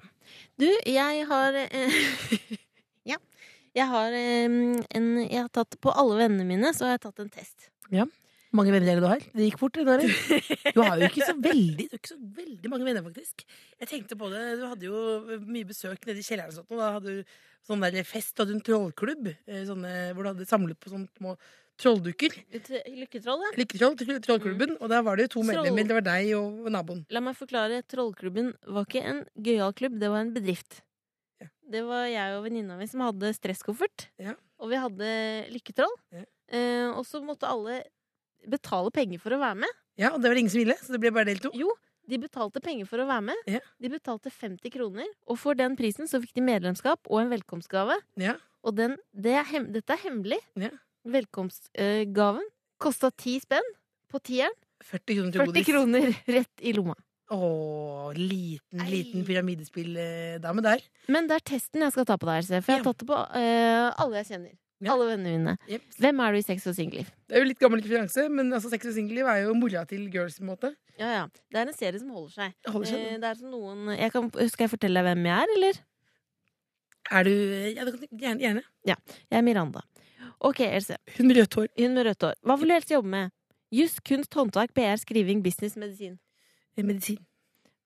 [SPEAKER 3] Du, jeg har eh, Ja. Jeg har eh, en Jeg har tatt På alle vennene mine så har jeg tatt en test.
[SPEAKER 4] Hvor mange venner er det du har? Det gikk fort. det der. Du har jo ikke så veldig, du har ikke så veldig mange venner, faktisk. Jeg tenkte på det, Du hadde jo mye besøk nede i kjelleren. og sånt, og Da hadde du sånn der fest, du hadde en trollklubb eh, sånne, hvor du hadde samlet på sånne små trolldukker.
[SPEAKER 3] Lykketrollet?
[SPEAKER 4] Lykketroll, tro- trollklubben. Og der var det jo to
[SPEAKER 3] Troll.
[SPEAKER 4] medlemmer. Det var deg og naboen.
[SPEAKER 3] La meg forklare. Trollklubben var ikke en gøyal klubb, det var en bedrift.
[SPEAKER 4] Ja.
[SPEAKER 3] Det var jeg og venninna mi som hadde stresskoffert.
[SPEAKER 4] Ja.
[SPEAKER 3] Og vi hadde lykketroll.
[SPEAKER 4] Ja.
[SPEAKER 3] Eh, og så måtte alle betale penger for å være med.
[SPEAKER 4] Ja, Og det var det ingen som ville, så det ble bare delt to.
[SPEAKER 3] Jo, de betalte penger for å være med.
[SPEAKER 4] Ja.
[SPEAKER 3] De betalte 50 kroner, og for den prisen så fikk de medlemskap og en velkomstgave.
[SPEAKER 4] Ja.
[SPEAKER 3] Og den, det er hem, dette er hemmelig.
[SPEAKER 4] Ja.
[SPEAKER 3] Velkomstgaven kosta ti spenn på tieren.
[SPEAKER 4] 40 kroner til
[SPEAKER 3] 40
[SPEAKER 4] godis.
[SPEAKER 3] kroner rett i lomma.
[SPEAKER 4] Å, liten,
[SPEAKER 3] Ei.
[SPEAKER 4] liten pyramidespilldame der.
[SPEAKER 3] Men det er testen jeg skal ta på deg, Else. For jeg har
[SPEAKER 4] Ja.
[SPEAKER 3] tatt det på eh, alle jeg kjenner.
[SPEAKER 4] Ja.
[SPEAKER 3] Alle vennene mine.
[SPEAKER 4] Jep.
[SPEAKER 3] Hvem er du i sex og singelliv?
[SPEAKER 4] Det er jo litt gammel referanse, men altså, sex og singelliv er jo mora til girls. på en måte.
[SPEAKER 3] Ja, ja. Det er en serie som holder seg.
[SPEAKER 4] Det Holder seg.
[SPEAKER 3] Eh, det er som noen jeg kan, Skal jeg fortelle deg hvem jeg er, eller?
[SPEAKER 4] Er du ja, det kan- gjerne, gjerne.
[SPEAKER 3] Jeg er Miranda. Ok, Else.
[SPEAKER 4] Hun med rødt hår.
[SPEAKER 3] Hun med rødt hår. Hva vil du helst jobbe med? Juss, kunst, håndverk, PR, skriving, business, medisin.
[SPEAKER 4] eh, Medisin.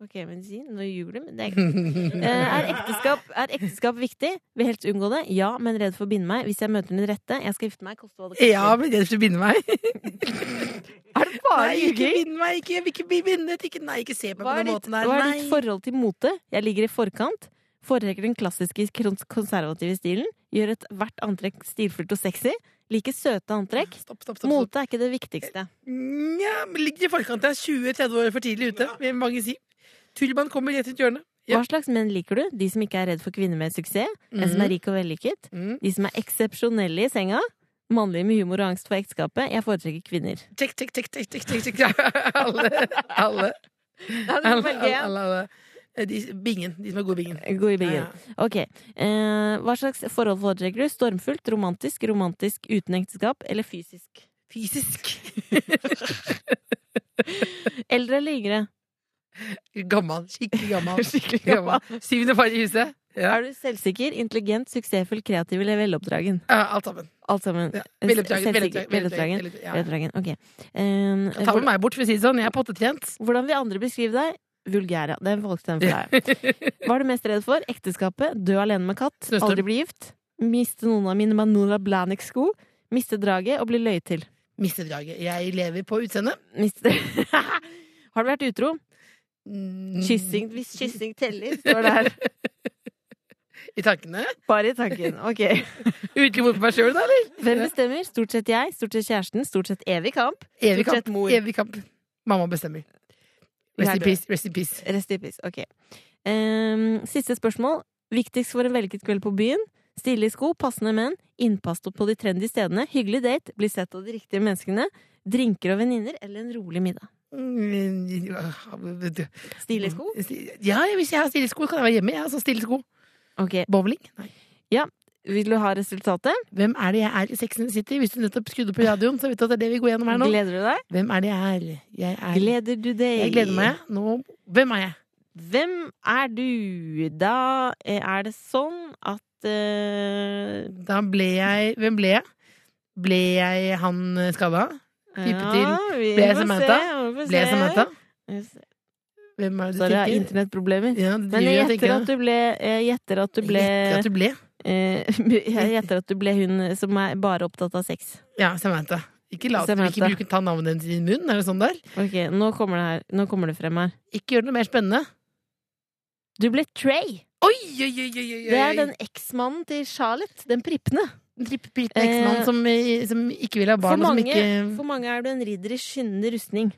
[SPEAKER 3] Ok, medisin. Nå ljuger du, men det er greit. Eh, Er ekteskap, er ekteskap viktig? Vil helst unngå det. Ja, men redd for å binde meg. Hvis jeg møter den rette, jeg skal gifte meg. Koste hva det koster.
[SPEAKER 4] ja, men jeg vil binde meg.
[SPEAKER 5] Er det bare
[SPEAKER 4] Nei, ikke
[SPEAKER 5] ljuging?
[SPEAKER 4] bind meg. Ikke, jeg vil ikke bli bindet. Ikke, nei, ikke se på meg
[SPEAKER 3] Hva
[SPEAKER 4] på
[SPEAKER 3] er
[SPEAKER 4] den
[SPEAKER 3] ditt,
[SPEAKER 4] måten der.
[SPEAKER 3] hva er ditt
[SPEAKER 4] Nei.
[SPEAKER 3] forhold til mote? Jeg ligger i forkant. Foretrekker den klassiske krons- konservative stilen. Gjør ethvert antrekk stilfullt og sexy. Liker søte antrekk.
[SPEAKER 4] Stopp, stopp, stopp. stopp.
[SPEAKER 3] Mote er ikke det viktigste.
[SPEAKER 4] Nja, men ligger i forkant. Jeg er 20-30 år for tidlig ute, vil mange si. Tullmann kommer rett rundt hjørnet. Ja.
[SPEAKER 3] Hva slags menn liker du? De som ikke er redd for kvinner med suksess? En som er rik og vellykket?
[SPEAKER 4] Mm.
[SPEAKER 3] De som er eksepsjonelle i senga? Mannlige med humor og angst for ekteskapet? Jeg foretrekker kvinner.
[SPEAKER 4] Check, check, check, check, check, check, check. Alle, alle,
[SPEAKER 3] du må
[SPEAKER 4] alle,
[SPEAKER 3] velge
[SPEAKER 4] alle,
[SPEAKER 3] en.
[SPEAKER 4] alle, alle. Eh, De, bingen. De som er gode i bingen.
[SPEAKER 3] God i bingen.
[SPEAKER 4] Ja, ja.
[SPEAKER 3] Ok. Eh, hva slags forhold foretrekker du? Stormfullt, romantisk, romantisk uten ekteskap eller fysisk?
[SPEAKER 4] Fysisk.
[SPEAKER 3] Eldre eller yngre?
[SPEAKER 4] Gammel. Skikkelig gammel. Skikkelig gammel. Syvende far i huset. Ja.
[SPEAKER 3] Er du selvsikker, intelligent, suksessfull, kreativ eller veloppdragen?
[SPEAKER 4] Ja, alt sammen.
[SPEAKER 3] Alt sammen.
[SPEAKER 4] Ja. Veloppdragen.
[SPEAKER 3] Selvsikker,
[SPEAKER 4] veloppdragen,
[SPEAKER 3] veloppdragen.
[SPEAKER 4] veloppdragen,
[SPEAKER 3] Veloppdragen,
[SPEAKER 4] ja.
[SPEAKER 3] ok. Ehm,
[SPEAKER 4] Ta med meg bort, for å si det sånn. Jeg er pottetrent.
[SPEAKER 3] hvordan vil andre beskrive deg? Vulgær, ja. Den valgte den for deg. Hva er du mest redd for? Ekteskapet? Dø alene med katt?
[SPEAKER 4] Snøstorm.
[SPEAKER 3] Aldri bli gift? Miste noen av mine Manora Blahnik-sko? Miste draget og bli løyet til?
[SPEAKER 4] Mister draget. Jeg lever på utseendet.
[SPEAKER 3] Miste Har du vært utro?
[SPEAKER 4] Mm,
[SPEAKER 3] Kyssing, hvis kyssing teller, står det her.
[SPEAKER 4] I tankene.
[SPEAKER 3] Bare i tanken. Ok.
[SPEAKER 4] Uteliv mot meg sjøl, da, eller?
[SPEAKER 3] Hvem bestemmer? Stort sett jeg, stort sett kjæresten, stort sett evig kamp.
[SPEAKER 4] Evig
[SPEAKER 3] Stort sett
[SPEAKER 4] kamp.
[SPEAKER 3] mor.
[SPEAKER 4] Evig kamp. Mamma bestemmer.
[SPEAKER 3] Vi er
[SPEAKER 4] Rest in
[SPEAKER 3] døde.
[SPEAKER 4] peace. Rest in peace.
[SPEAKER 3] Rest in peace. Ok. Ehm, siste spørsmål. Viktigst for en vellykket kveld på byen? Stille i sko, passende menn, innpass på de trendy stedene, hyggelig date, bli sett av de riktige menneskene, drinker og venninner eller en rolig middag.
[SPEAKER 4] Mm,
[SPEAKER 3] Stille i sko?
[SPEAKER 4] Ja, hvis jeg har stille sko, kan jeg være hjemme. Jeg har så stille sko.
[SPEAKER 3] Ok.
[SPEAKER 4] Bowling? Nei.
[SPEAKER 3] Vil du ha resultatet?
[SPEAKER 4] Hvem er det jeg er i Sex and the City? Hvis du nettopp skrudde på radioen, så vet du at det er det vi går gjennom her nå.
[SPEAKER 3] Gleder du deg?
[SPEAKER 4] Hvem er det jeg er? Jeg, er...
[SPEAKER 3] Gleder du deg?
[SPEAKER 4] jeg gleder meg. Nå... Hvem er jeg?
[SPEAKER 3] Hvem er du? Da eh, er det sånn at eh,
[SPEAKER 4] Da ble jeg Hvem ble jeg? Ble jeg han eh, skada? Type til.
[SPEAKER 3] vi
[SPEAKER 4] Ble jeg
[SPEAKER 3] får
[SPEAKER 4] Samantha?
[SPEAKER 3] se, vi får
[SPEAKER 4] Ble jeg
[SPEAKER 3] se.
[SPEAKER 4] Samantha?
[SPEAKER 3] Vi får se.
[SPEAKER 4] Hvem er det
[SPEAKER 3] Så
[SPEAKER 4] du
[SPEAKER 3] det er
[SPEAKER 4] tenker?
[SPEAKER 3] internettproblemer.
[SPEAKER 4] Ja, du
[SPEAKER 3] Men jeg
[SPEAKER 4] driver og
[SPEAKER 3] gjetter
[SPEAKER 4] tenker,
[SPEAKER 3] at du ble Jeg gjetter at du
[SPEAKER 4] da.
[SPEAKER 3] ble,
[SPEAKER 4] Gjetter at du ble.
[SPEAKER 3] eh, jeg gjetter at du ble hun som er bare opptatt av sex.
[SPEAKER 4] Ja, Samantha. Ikke lat
[SPEAKER 3] Se
[SPEAKER 4] som
[SPEAKER 3] meg
[SPEAKER 4] ikke
[SPEAKER 3] etter.
[SPEAKER 4] bruke ta navnet hennes i din munn. Er det sånn der?
[SPEAKER 3] Ok, nå kommer det her. Nå kommer det frem her.
[SPEAKER 4] Ikke gjør det noe mer spennende.
[SPEAKER 3] Du ble Trey.
[SPEAKER 4] Oi, oi, oi, oi, oi, oi.
[SPEAKER 3] Det er den eksmannen til Charlotte. Den prippende.
[SPEAKER 4] trippelpilten eksmann
[SPEAKER 3] Eh,
[SPEAKER 4] som, som ikke vil ha
[SPEAKER 3] For
[SPEAKER 4] barn, og som
[SPEAKER 3] mange,
[SPEAKER 4] ikke
[SPEAKER 3] for mange er du en ridder i skyndende rustning.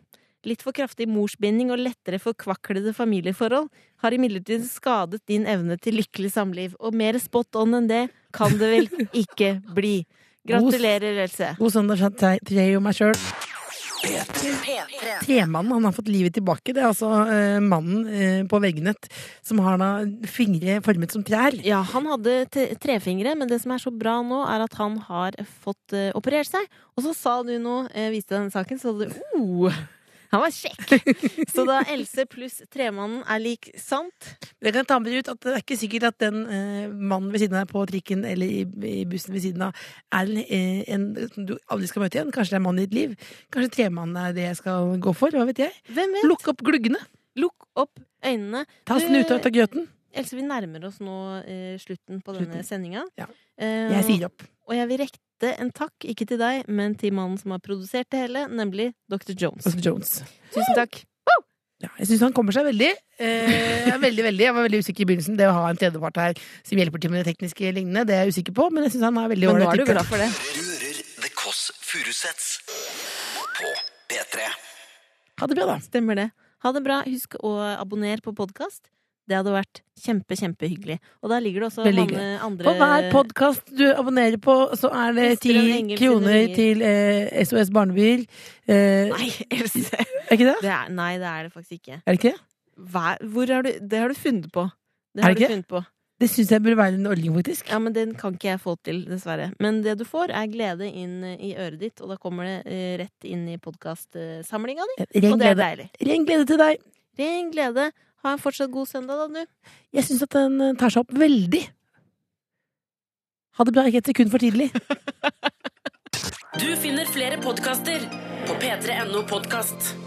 [SPEAKER 3] Litt for kraftig morsbinding og lettere forkvaklede familieforhold har imidlertid skadet din evne til lykkelig samliv. Og mer spot on enn det kan det vel ikke bli. Gratulerer, Else.
[SPEAKER 4] God søndag fra Tre- Tre og meg sjøl. Tremannen han har fått livet tilbake. Det er altså eh, mannen eh, på veggnett som har da fingre formet som trær.
[SPEAKER 3] Ja, han hadde te- trefingre, men det som er så bra nå, er at han har fått eh, operert seg. Og så sa du nå, eh, viste deg denne saken, så hadde du oh, Han var kjekk! Så da Else pluss tremannen er lik sant
[SPEAKER 4] Det kan jeg ta med dere ut at det er ikke sikkert at den eh, mannen ved siden av deg på trikken eller i, i bussen ved siden av er en, eh, en som du aldri skal møte igjen. Kanskje det er mannen i ditt liv. Kanskje tremannen er det jeg skal gå for. Hva vet jeg.
[SPEAKER 3] Hvem vet?
[SPEAKER 4] Lukk opp gluggene.
[SPEAKER 3] Lukk opp øynene.
[SPEAKER 4] Ta
[SPEAKER 3] Du-
[SPEAKER 4] snuta ut av grøten.
[SPEAKER 3] Else, vi nærmer oss nå eh, slutten på denne
[SPEAKER 4] Slutten.
[SPEAKER 3] sendinga.
[SPEAKER 4] Ja.
[SPEAKER 3] Eh,
[SPEAKER 4] Jeg sier opp.
[SPEAKER 3] Og jeg vil rekte en takk, ikke til deg, men til mannen som har produsert det hele, nemlig Dr. Jones.
[SPEAKER 4] Oscar Jones.
[SPEAKER 3] Tusen takk.
[SPEAKER 4] Ja, jeg syns han kommer seg veldig. Eh, veldig, veldig. Jeg var veldig usikker i begynnelsen. Det å ha en tredjepart her som hjelper til med det tekniske lignende, det er jeg usikker på, men jeg syns han er veldig
[SPEAKER 3] Men nå er
[SPEAKER 4] ålreit.
[SPEAKER 3] du
[SPEAKER 4] type.
[SPEAKER 3] glad for det.
[SPEAKER 2] Du hører The Kåss Furuseths på P3.
[SPEAKER 4] Ha det bra, da.
[SPEAKER 3] Stemmer det. Ha det bra. Husk å abonnere på podkast. Det hadde vært kjempe, kjempehyggelig. Og der ligger det også
[SPEAKER 4] Veldig
[SPEAKER 3] mange andre
[SPEAKER 4] På hver podkast du abonnerer på, så er det ti
[SPEAKER 3] Espen og Engel sine
[SPEAKER 4] kroner
[SPEAKER 3] ringer.
[SPEAKER 4] til eh, SOS Barnebyer. Eh,
[SPEAKER 3] Nei, Else!
[SPEAKER 4] er ikke det?
[SPEAKER 3] Det er, nei, det er det faktisk ikke.
[SPEAKER 4] Er det ikke det?
[SPEAKER 3] Hver, hvor har du, det har du funnet på. Det
[SPEAKER 4] Er
[SPEAKER 3] har du
[SPEAKER 4] det ikke?
[SPEAKER 3] funnet på.
[SPEAKER 4] Det syns jeg burde være en ordning, faktisk.
[SPEAKER 3] Ja, men Den kan ikke jeg få til, dessverre. Men det du får, er glede inn eh, i øret ditt, og da kommer det eh, rett inn i podkastsamlinga di.
[SPEAKER 4] Ren
[SPEAKER 3] Og det er
[SPEAKER 4] glede.
[SPEAKER 3] deilig.
[SPEAKER 4] Ren glede til deg.
[SPEAKER 3] Ren glede. Ha en fortsatt god søndag, da, du.
[SPEAKER 4] Jeg syns at den eh, tar seg opp veldig. Ha det bra, ikke et sekund for tidlig.
[SPEAKER 1] Du finner flere podkaster på p3.no podkast.